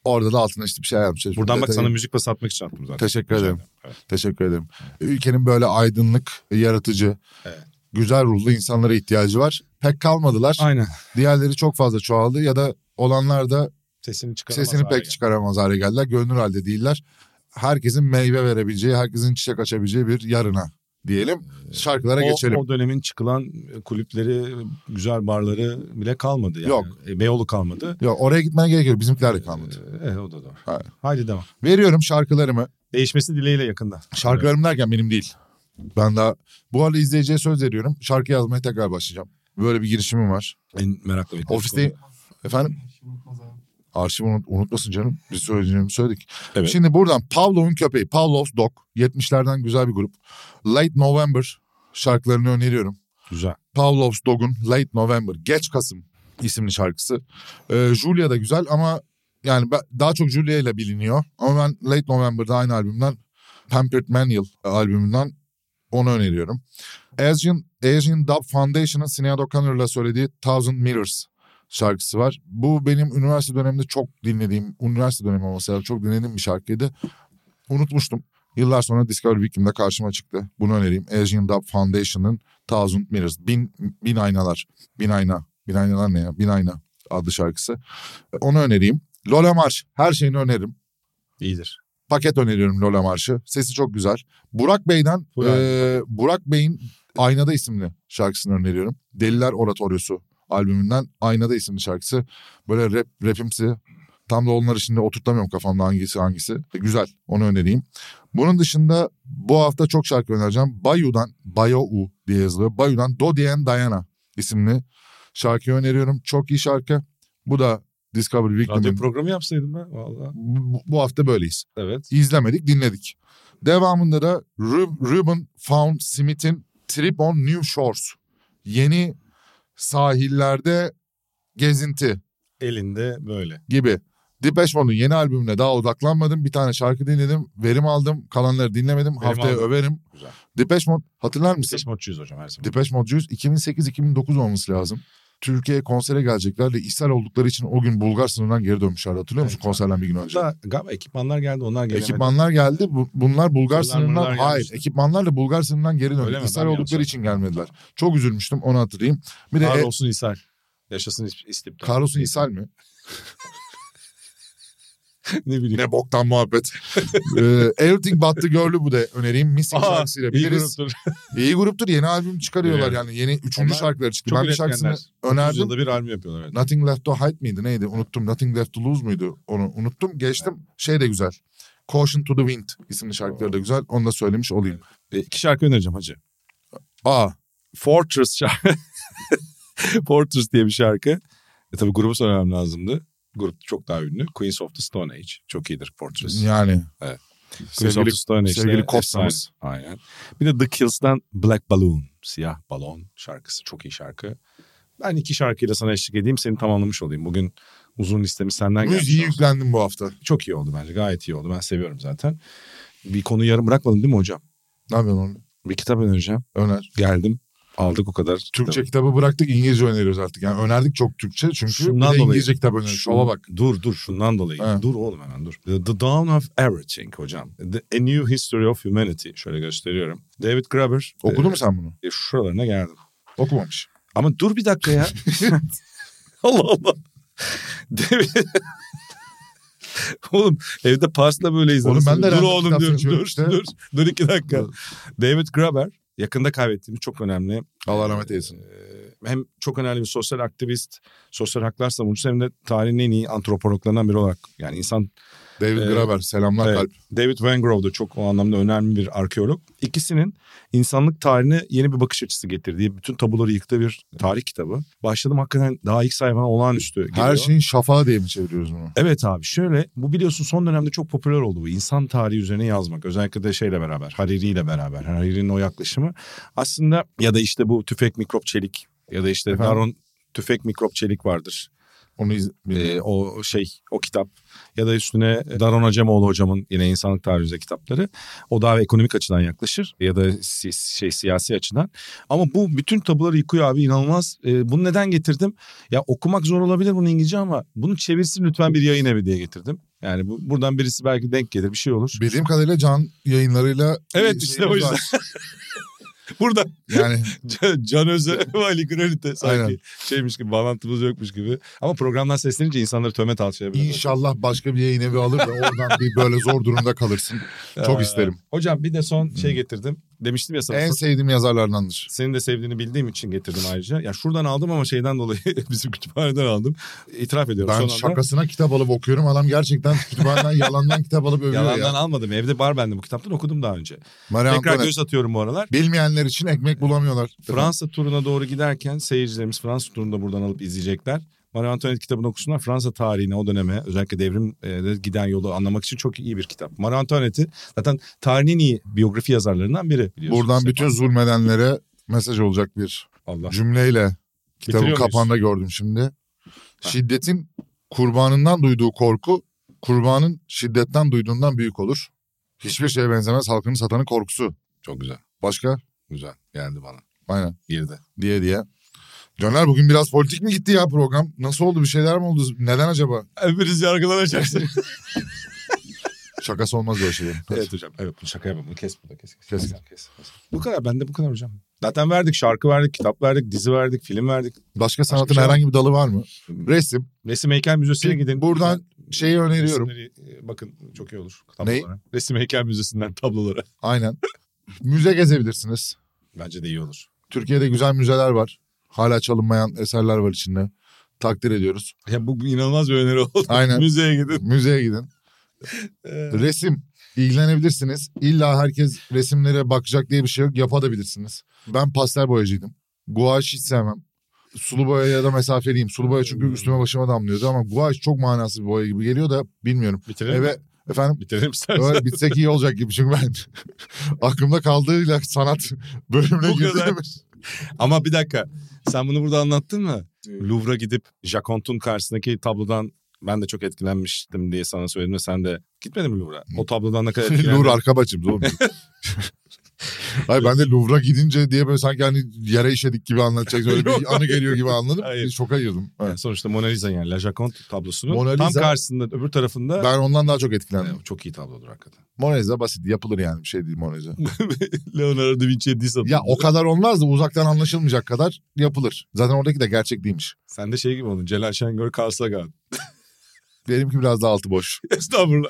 Speaker 3: Orada da altına işte bir şey yazmışlar.
Speaker 2: Buradan bak
Speaker 3: Detayı-
Speaker 2: sana müzik pas atmak için attım zaten.
Speaker 3: Teşekkür ederim.
Speaker 2: Evet.
Speaker 3: Teşekkür ederim. Ülkenin böyle aydınlık, yaratıcı,
Speaker 2: Evet.
Speaker 3: güzel ruhlu insanlara ihtiyacı var. Pek kalmadılar.
Speaker 2: Aynen.
Speaker 3: Diğerleri çok fazla çoğaldı ya da olanlar da
Speaker 2: Sesini çıkaramaz.
Speaker 3: sesini
Speaker 2: hale
Speaker 3: pek çıkaramaz hale geldiler. Gönül halde değiller. Herkesin meyve verebileceği, herkesin çiçek açabileceği bir yarına diyelim. Şarkılara
Speaker 2: o,
Speaker 3: geçelim.
Speaker 2: o dönemin çıkılan kulüpleri, güzel barları bile kalmadı yani.
Speaker 3: Yok.
Speaker 2: E, Beyoğlu kalmadı.
Speaker 3: Yok oraya gitmene gerek yok. Bizimkiler de kalmadı.
Speaker 2: Ee, e, o da doğru.
Speaker 3: Hayır.
Speaker 2: Haydi devam.
Speaker 3: Veriyorum şarkılarımı.
Speaker 2: Değişmesi dileğiyle yakında.
Speaker 3: Şarkılarım derken benim değil. Ben daha bu arada izleyiciye söz veriyorum. Şarkı yazmaya tekrar başlayacağım. Böyle bir girişimim var.
Speaker 2: En meraklı bir
Speaker 3: Ofiste efendim
Speaker 4: Unutmaz abi.
Speaker 3: arşivi unut- unutmasın canım. Biz söyleyeceğimi söyledik.
Speaker 2: Evet.
Speaker 3: Şimdi buradan Pavlov'un köpeği Pavlov's Dog 70'lerden güzel bir grup. Late November şarkılarını öneriyorum.
Speaker 2: Güzel.
Speaker 3: Pavlov's Dog'un Late November Geç Kasım isimli şarkısı. Ee, Julia da güzel ama yani ben- daha çok Julia ile biliniyor. Ama ben Late November'da aynı albümden Pampered Manual albümünden onu öneriyorum. Asian, Asian Dub Foundation'ın Sinead O'Connor'la söylediği Thousand Mirrors şarkısı var. Bu benim üniversite döneminde çok dinlediğim, üniversite dönemi olması lazım çok dinlediğim bir şarkıydı. Unutmuştum. Yıllar sonra Discovery Week'imde karşıma çıktı. Bunu önereyim. Asian Dub Foundation'ın Thousand Mirrors. Bin, bin aynalar. Bin ayna. Bin aynalar ne ya? Bin ayna adlı şarkısı. Onu önereyim. Lola Marş. Her şeyini öneririm.
Speaker 2: İyidir.
Speaker 3: Paket öneriyorum Lola Marş'ı. Sesi çok güzel. Burak Bey'den
Speaker 2: Burak.
Speaker 3: eee, Burak Bey'in Aynada isimli şarkısını öneriyorum. Deliler Oratoryosu albümünden Aynada isimli şarkısı. Böyle rap, rapimsi. Tam da onları şimdi oturtamıyorum kafamda hangisi hangisi. E, Güzel onu önereyim. Bunun dışında bu hafta çok şarkı önereceğim. Bayu'dan, Bayou diye yazılıyor. Bayu'dan Dodie and Diana isimli şarkıyı öneriyorum. Çok iyi şarkı. Bu da Discovery
Speaker 2: Radyo
Speaker 3: Weekly'nin.
Speaker 2: programı yapsaydım ben valla.
Speaker 3: Bu- bu hafta böyleyiz
Speaker 2: Evet.
Speaker 3: izlemedik dinledik. Devamında da Rub- Ruben Found Smith'in Trip on New Shores. Yeni sahillerde gezinti
Speaker 2: Elinde böyle.
Speaker 3: gibi. Depeche Mode'un yeni albümüne daha odaklanmadım. Bir tane şarkı dinledim. Verim aldım. Kalanları dinlemedim. Haftaya
Speaker 2: aldım.
Speaker 3: överim.
Speaker 2: Güzel.
Speaker 3: Depeche Mode hatırlar mısın?
Speaker 2: Seçim otçuyuz hocam her zaman.
Speaker 3: Depeche Mode 2008-2009 olması lazım. Türkiye'ye konsere gelecekler de ishal oldukları için o gün Bulgar sınırından geri dönmüşlerdi. Hatırlıyor musun
Speaker 2: Evet.
Speaker 3: konserden bir gün önce?
Speaker 2: Hatta galiba ekipmanlar geldi onlar gelemedi.
Speaker 3: Ekipmanlar geldi. Bu- bunlar Bulgar
Speaker 2: Bunlar
Speaker 3: sınırından
Speaker 2: bunlar
Speaker 3: hayır.
Speaker 2: gelmişti.
Speaker 3: Ekipmanlar da Bulgar sınırından geri
Speaker 2: Öyle
Speaker 3: döndü.
Speaker 2: mi?
Speaker 3: İshal
Speaker 2: Ben
Speaker 3: oldukları
Speaker 2: yanlış
Speaker 3: için gelmediler. Çok üzülmüştüm onu hatırlayayım. Bir de
Speaker 2: Var
Speaker 3: e,
Speaker 2: olsun İshal. Yaşasın is- istibdal.
Speaker 3: Karlos'un ishal mi?
Speaker 2: ne bileyim.
Speaker 3: Ne boktan muhabbet. ee, Everything But The Girl'ü bu da önereyim. Missing
Speaker 2: Aa,
Speaker 3: şarkısıyla
Speaker 2: iyi
Speaker 3: biliriz.
Speaker 2: gruptur.
Speaker 3: İyi gruptur. Yeni albüm çıkarıyorlar
Speaker 2: Evet.
Speaker 3: yani. Yeni üçüncü
Speaker 2: Onlar
Speaker 3: şarkıları çıktı.
Speaker 2: Çok
Speaker 3: ben bir şarkısını
Speaker 2: üretkenler. Yüz
Speaker 3: önerdim.
Speaker 2: yılda bir albüm yapıyorlar. Evet.
Speaker 3: Nothing Left to Hide miydi neydi unuttum. Nothing Left to Lose muydu onu unuttum. Geçtim şey de güzel. Caution to the Wind isimli şarkıları da güzel. Onu da söylemiş olayım.
Speaker 2: E, iki şarkı önereceğim hacı.
Speaker 3: Aa
Speaker 2: Fortress şarkı. Fortress diye bir şarkı. E tabii grubu söylemem lazımdı. Grup çok daha ünlü. Queens of the Stone Age. Çok iyidir Fortress.
Speaker 3: Yani.
Speaker 2: Evet. Sevgili,
Speaker 3: Sevgili, sevgili Kostamız.
Speaker 2: Aynen. Bir de The Kills'dan Black Balloon, Siyah Balon şarkısı. Çok iyi şarkı. Ben iki şarkıyla sana eşlik edeyim. Seni tamamlamış olayım. Bugün uzun listemi senden geldi.
Speaker 3: Müziği yüklendim bu hafta.
Speaker 2: Çok iyi oldu bence. Gayet iyi oldu. Ben seviyorum zaten. Bir konuyu yarım bırakmadım değil mi hocam?
Speaker 3: Ne yapıyorsun oğlum?
Speaker 2: Bir kitap önereceğim.
Speaker 3: Öner.
Speaker 2: Geldim. Aldık o kadar.
Speaker 3: Türkçe kitabı bıraktık İngilizce öneriyoruz artık. Yani önerdik çok Türkçe çünkü
Speaker 2: Şundan
Speaker 3: bir de
Speaker 2: dolayı.
Speaker 3: İngilizce kitap öneriyoruz. Şola bak.
Speaker 2: Dur dur şundan dolayı.
Speaker 3: He.
Speaker 2: Dur oğlum hemen dur. The, The Dawn of Everything hocam. The, A New History of Humanity. Şöyle gösteriyorum. David Graeber.
Speaker 3: Okudun
Speaker 2: e,
Speaker 3: mu sen bunu?
Speaker 2: e, şuralarına geldim.
Speaker 3: Okumamış.
Speaker 2: Ama dur bir dakika ya. Allah Allah. David... oğlum evde pasla böyle izledim.
Speaker 3: Oğlum ben de
Speaker 2: dur
Speaker 3: random
Speaker 2: oğlum
Speaker 3: kitap
Speaker 2: dur,
Speaker 3: seçiyorum
Speaker 2: dur,
Speaker 3: işte.
Speaker 2: dur, dur iki dakika.
Speaker 3: Dur.
Speaker 2: David Graeber yakında kaybettiğimiz çok önemli
Speaker 3: Allah rahmet eylesin.
Speaker 2: ee, hem çok önemli bir sosyal aktivist, sosyal haklar savunucusu hem de tarihin en iyi antropologlarından biri olarak. Yani insan
Speaker 3: David
Speaker 2: Ee,
Speaker 3: Graber selamlar
Speaker 2: evet.
Speaker 3: kalp.
Speaker 2: David Van Grove da çok o anlamda önemli bir arkeolog. İkisinin insanlık tarihine yeni bir bakış açısı getirdiği, bütün tabuları yıktığı bir tarih kitabı. Başladım hakikaten daha ilk sayfana olağanüstü geliyor.
Speaker 3: Her şeyin şafağı diye mi çeviriyoruz bunu?
Speaker 2: Evet abi şöyle bu biliyorsun son dönemde çok popüler oldu bu insan tarihi üzerine yazmak özellikle de şeyle beraber Hariri ile beraber Hariri'nin o yaklaşımı aslında ya da işte bu tüfek mikrop çelik ya da işte
Speaker 3: Efendim?
Speaker 2: Baron tüfek mikrop çelik vardır
Speaker 3: Onu iz-
Speaker 2: Ee, o şey o kitap ya da üstüne Daron Acemoğlu hocamın yine insanlık tarihi üzerine kitapları o daha ekonomik açıdan yaklaşır ya da si- şey siyasi açıdan ama bu bütün tabuları yıkıyor abi inanılmaz Ee, bunu neden getirdim ya okumak zor olabilir bunu İngilizce ama bunu çevirsin lütfen bir yayın evi diye getirdim yani bu, buradan birisi belki denk gelir bir şey olur
Speaker 3: Bildiğim kadarıyla Can yayınlarıyla
Speaker 2: Evet,
Speaker 3: bir
Speaker 2: işte o
Speaker 3: şeyimiz var.
Speaker 2: burada
Speaker 3: Yani
Speaker 2: Can- Can Özer ve Ali Granit'e sanki
Speaker 3: Aynen.
Speaker 2: şeymiş gibi bağlantımız yokmuş gibi ama programdan seslenince insanları tömet alçayabilir
Speaker 3: inşallah başka bir yayın evi alır da oradan bir böyle zor durumda kalırsın. Çok
Speaker 2: Ee,
Speaker 3: isterim.
Speaker 2: Hocam bir de son şey getirdim. Demiştim ya sana.
Speaker 3: En sevdiğim yazarlardandır.
Speaker 2: Senin de sevdiğini bildiğim için getirdim ayrıca. Ya şuradan aldım ama şeyden dolayı bizim kütüphaneden aldım. İtiraf ediyorum
Speaker 3: Ben
Speaker 2: son anda.
Speaker 3: şakasına kitap alıp okuyorum. Adam gerçekten kütüphaneden yalandan kitap alıp övüyor
Speaker 2: Yalandan
Speaker 3: ya.
Speaker 2: almadım. Evde var bende bu kitaptan okudum daha önce.
Speaker 3: Marie
Speaker 2: Tekrar
Speaker 3: Antoinette.
Speaker 2: göz atıyorum bu aralar.
Speaker 3: Bilmeyenler için ekmek bulamıyorlar.
Speaker 2: Fransa turuna doğru giderken seyircilerimiz Fransa turunu da buradan alıp izleyecekler. Marie Antoinette kitabını okusunlar. Fransa tarihine o döneme özellikle devrimde giden yolu anlamak için çok iyi bir kitap. Marie Antoinette'i zaten tarihin en iyi biyografi yazarlarından biri biliyorsunuz.
Speaker 3: Buradan bütün zulmedenlere mesaj olacak bir
Speaker 2: Allah.
Speaker 3: cümleyle kitabın
Speaker 2: Bitiriyor muyuz?
Speaker 3: kapağında gördüm şimdi. Şiddetin kurbanından duyduğu korku kurbanın şiddetten duyduğundan büyük olur. Hiçbir şeye benzemez halkını satanın korkusu.
Speaker 2: Çok güzel.
Speaker 3: Başka?
Speaker 2: Güzel. Geldi bana.
Speaker 3: Aynen
Speaker 2: Girdi.
Speaker 3: diye diye. Caner bugün biraz politik mi gitti ya program? Nasıl oldu bir şeyler mi oldu? Neden acaba?
Speaker 2: Hepiniz yargılanacaksınız.
Speaker 3: Şakası olmaz şey böyle şeylerin.
Speaker 2: evet hocam. Evet bunu şaka yapalım. Bunu Kes bunu kes. Kes.
Speaker 3: Kes.
Speaker 2: Kes. kes, kes. Bu kadar. Bende bu kadar hocam. Zaten verdik. Şarkı verdik. Kitap verdik. Dizi verdik. Film verdik.
Speaker 3: Başka sanatın
Speaker 2: şey-
Speaker 3: herhangi bir dalı var mı? Resim.
Speaker 2: Resim heykel müzesine
Speaker 3: Peki,
Speaker 2: gidin.
Speaker 3: buradan Şeyi öneriyorum.
Speaker 2: Resimleri, e, Bakın çok iyi olur.
Speaker 3: Neyi?
Speaker 2: Tablolara. Resim heykel müzesinden tablolara.
Speaker 3: Aynen. Müze gezebilirsiniz.
Speaker 2: Bence de iyi olur.
Speaker 3: Türkiye'de güzel müzeler var. Hala çalınmayan eserler var içinde. Takdir ediyoruz.
Speaker 2: Ya bu inanılmaz bir öneri oldu.
Speaker 3: Aynen.
Speaker 2: Müzeye gidin.
Speaker 3: Müzeye gidin.
Speaker 2: Ee,
Speaker 3: Resim ilgilenebilirsiniz. İlla herkes resimlere bakacak diye bir şey yok. Yapabilirsiniz. Ben pastel boyacıydım. Guaj hiç sevmem. Sulu boyaya da mesafeliyim. Sulu boya çünkü üstüme başıma damlıyordu ama guaj çok manasız bir boya gibi geliyor da bilmiyorum.
Speaker 2: Bitirelim mi?
Speaker 3: Eve efendim
Speaker 2: Bitirelim istersen.
Speaker 3: öyle bitsek iyi olacak gibi çünkü ben aklımda kaldığıyla sanat bölümüne
Speaker 2: Bu kadar.
Speaker 3: girdim.
Speaker 2: Ama bir dakika. Sen bunu burada anlattın mı? Louvre'a gidip Jacont'un karşısındaki tablodan ben de çok etkilenmiştim diye sana söyledim. ve Sen de gitmedin mi Louvre'a? O tablodan ne kadar etkilendin?
Speaker 3: Louvre arka bacımız oğlum. Hayır ben de Louvre'a gidince diye böyle sanki hani yere işedik gibi anlatacak öyle
Speaker 2: Yok,
Speaker 3: bir anı geliyor gibi anladım.
Speaker 2: Hayır.
Speaker 3: Şoka girdim. Evet.
Speaker 2: Yani sonuçta Mona Lisa yani La Joconde tablosunun
Speaker 3: Mona
Speaker 2: tam
Speaker 3: Lisa-
Speaker 2: karşısında öbür tarafında
Speaker 3: Ben ondan daha çok etkilendim.
Speaker 2: Yani çok iyi tablodur hakikaten.
Speaker 3: Mona Lisa basit yapılır yani bir şey değil Mona Lisa.
Speaker 2: Leonardo da Vinci'ye diss atıyor.
Speaker 3: ya o kadar olmaz da uzaktan anlaşılmayacak kadar yapılır. Zaten oradaki de gerçek değilmiş.
Speaker 2: Sen de şey gibi oldun Celal Şengör Carl Sagan.
Speaker 3: Diyelim ki biraz daha altı boş.
Speaker 2: Estağfurullah.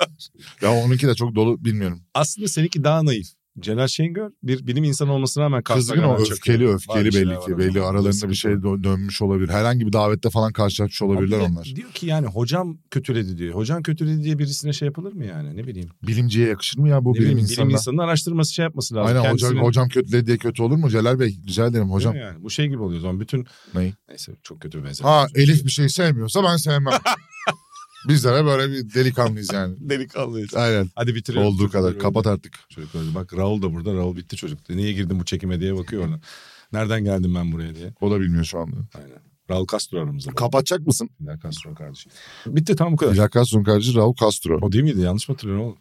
Speaker 3: Ya onunki de çok dolu bilmiyorum.
Speaker 2: Aslında seninki daha naif. Celal Şengör bir bilim insanı olmasına rağmen Carl
Speaker 3: Kızgın o
Speaker 2: Sagan'a
Speaker 3: öfkeli
Speaker 2: Var bir
Speaker 3: öfkeli
Speaker 2: şeyler
Speaker 3: belli
Speaker 2: var
Speaker 3: ki. Belli
Speaker 2: ama.
Speaker 3: aralarında bir şey dö- dönmüş olabilir. Herhangi bir davette falan karşılaşmış olabilirler
Speaker 2: Abi de
Speaker 3: onlar.
Speaker 2: Diyor ki yani hocam kötüledi diyor. Hocam kötüledi diye birisine şey yapılır mı yani ne bileyim.
Speaker 3: Bilimciye yakışır mı ya bu
Speaker 2: Ne bileyim,
Speaker 3: bilim
Speaker 2: bilim
Speaker 3: insanına?
Speaker 2: insanının araştırması şey yapması lazım.
Speaker 3: Aynen hocam,
Speaker 2: Kendisinin-
Speaker 3: hocam kötüledi diye kötü olur mu Celal Bey? Rica ederim
Speaker 2: Değil
Speaker 3: hocam.
Speaker 2: mi Yani? Bu şey gibi oluyor o zaman bütün.
Speaker 3: Neyi? şey
Speaker 2: Neyse çok kötü bir benzetme.
Speaker 3: Ha Elif bir şey sevmiyorsa ben sevmem. Bizlere böyle bir delikanlıyız yani.
Speaker 2: Delikanlıyız.
Speaker 3: Aynen.
Speaker 2: Hadi bitirelim.
Speaker 3: Olduğu kadar.
Speaker 2: Çocukları
Speaker 3: Kapat artık.
Speaker 2: Çocuk öyle. Bak Raul da burada. Raul bitti çocuk. E, Niye girdim bu çekime diye bakıyor ona. Nereden geldim ben buraya diye.
Speaker 3: O da bilmiyor şu anda.
Speaker 2: Aynen. Raul Castro aramızda.
Speaker 3: Kapatacak mısın?
Speaker 2: Fidel Castro kardeşim. Bitti tamam bu kadar.
Speaker 3: Fidel Castro'nun kardeşi Raul Castro.
Speaker 2: O değil miydi? Yanlış mı hatırlıyorum oğlum?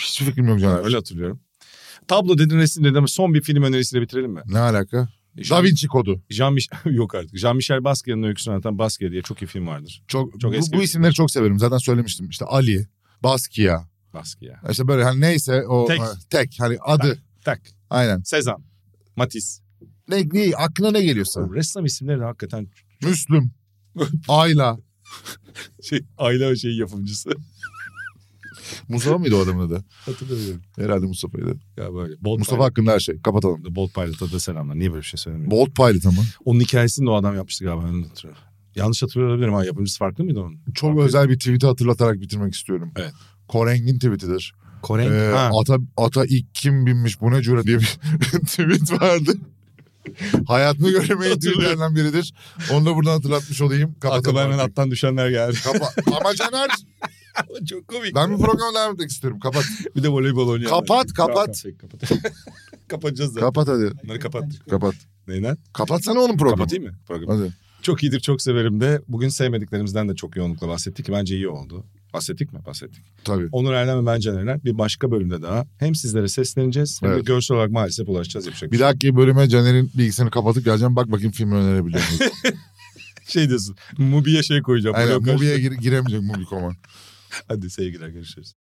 Speaker 3: Hiç fikrim yok Caner.
Speaker 2: Öyle hatırlıyorum. Tablo dedin resim dedin ama son bir film önerisiyle bitirelim mi?
Speaker 3: Ne alaka? Da Vinci kodu.
Speaker 2: Jean Mich- yok artık. Jean Michel Basquiat'ın öyküsünü anlatan Basquiat diye çok iyi film vardır.
Speaker 3: Çok,
Speaker 2: Çok
Speaker 3: bu,
Speaker 2: eski
Speaker 3: bu
Speaker 2: bir-
Speaker 3: isimleri çok severim. Zaten söylemiştim. İşte Ali, Basquiat.
Speaker 2: Basquiat.
Speaker 3: İşte böyle hani neyse o
Speaker 2: Tek.
Speaker 3: tek, tek hani adı.
Speaker 2: Tak.
Speaker 3: Aynen.
Speaker 2: Sezam. Matisse.
Speaker 3: Ne, ne aklına ne geliyorsa.
Speaker 2: O Ressam isimleri de hakikaten
Speaker 3: Müslüm. Ayla.
Speaker 2: şey, aile şey yapımcısı.
Speaker 3: Mustafa mıydı o adamın adı?
Speaker 2: Hatırlamıyorum.
Speaker 3: Herhalde Mustafa'ydı.
Speaker 2: Ya böyle. Bolt
Speaker 3: Mustafa
Speaker 2: Pilot.
Speaker 3: hakkında her şey. Kapatalım.
Speaker 2: Bolt Pilot'a da selamlar. Niye böyle bir şey söylemiyorum?
Speaker 3: Bolt Pilot ama.
Speaker 2: Onun hikayesini de o adam yapmıştı galiba. Ben onu hatırlıyorum. Yanlış hatırlıyor olabilirim ha. Yapımcısı farklı mıydı onun?
Speaker 3: Çok özel bir tweet'i hatırlatarak bitirmek istiyorum.
Speaker 2: Evet.
Speaker 3: Koreng'in tweet'idir.
Speaker 2: Kore.
Speaker 3: Ee,
Speaker 2: ha.
Speaker 3: ata, ata ilk kim binmiş bu ne cüret diye bir tweet vardı. Hayatını göremeyen tweetlerden biridir. Onu da buradan hatırlatmış olayım. Kapatalım
Speaker 2: Aklıma hemen
Speaker 3: artık.
Speaker 2: attan düşenler geldi.
Speaker 3: Kapa- ama Caner
Speaker 2: çok komik.
Speaker 3: ben bu programı devam etmek istiyorum. Kapat.
Speaker 2: Bir de voleybol oynayanlar.
Speaker 3: Kapat,
Speaker 2: Tamam, tamam,
Speaker 3: kapat.
Speaker 2: peki, kapat. Kapatacağız zaten.
Speaker 3: Kapat hadi.
Speaker 2: Bunları kapat.
Speaker 3: Kapat.
Speaker 2: Neyden?
Speaker 3: Kapatsana oğlum programı.
Speaker 2: Kapatayım mı? Programı.
Speaker 3: Hadi.
Speaker 2: Çok iyidir, çok severim de. Bugün sevmediklerimizden de çok yoğunlukla bahsettik ki bence iyi oldu. Bahsettik mi? Bahsettik.
Speaker 3: Tabii.
Speaker 2: Onur Erdem ve ben Caner Erler bir başka bölümde daha hem sizlere sesleneceğiz hem de
Speaker 3: Evet.
Speaker 2: görsel olarak maalesef ulaşacağız. Yapacak
Speaker 3: Bir dahaki bölüme Caner'in bilgisayarını kapatıp geleceğim. Bak bakayım filmi önerebiliyor muyum?
Speaker 2: şey diyorsun. Mubi'ye şey koyacağım.
Speaker 3: Aynen.
Speaker 2: Blokaj.
Speaker 3: Movie'ye gir- giremeyecek Mubi.com'a.
Speaker 2: Hadi sevgiler görüşürüz.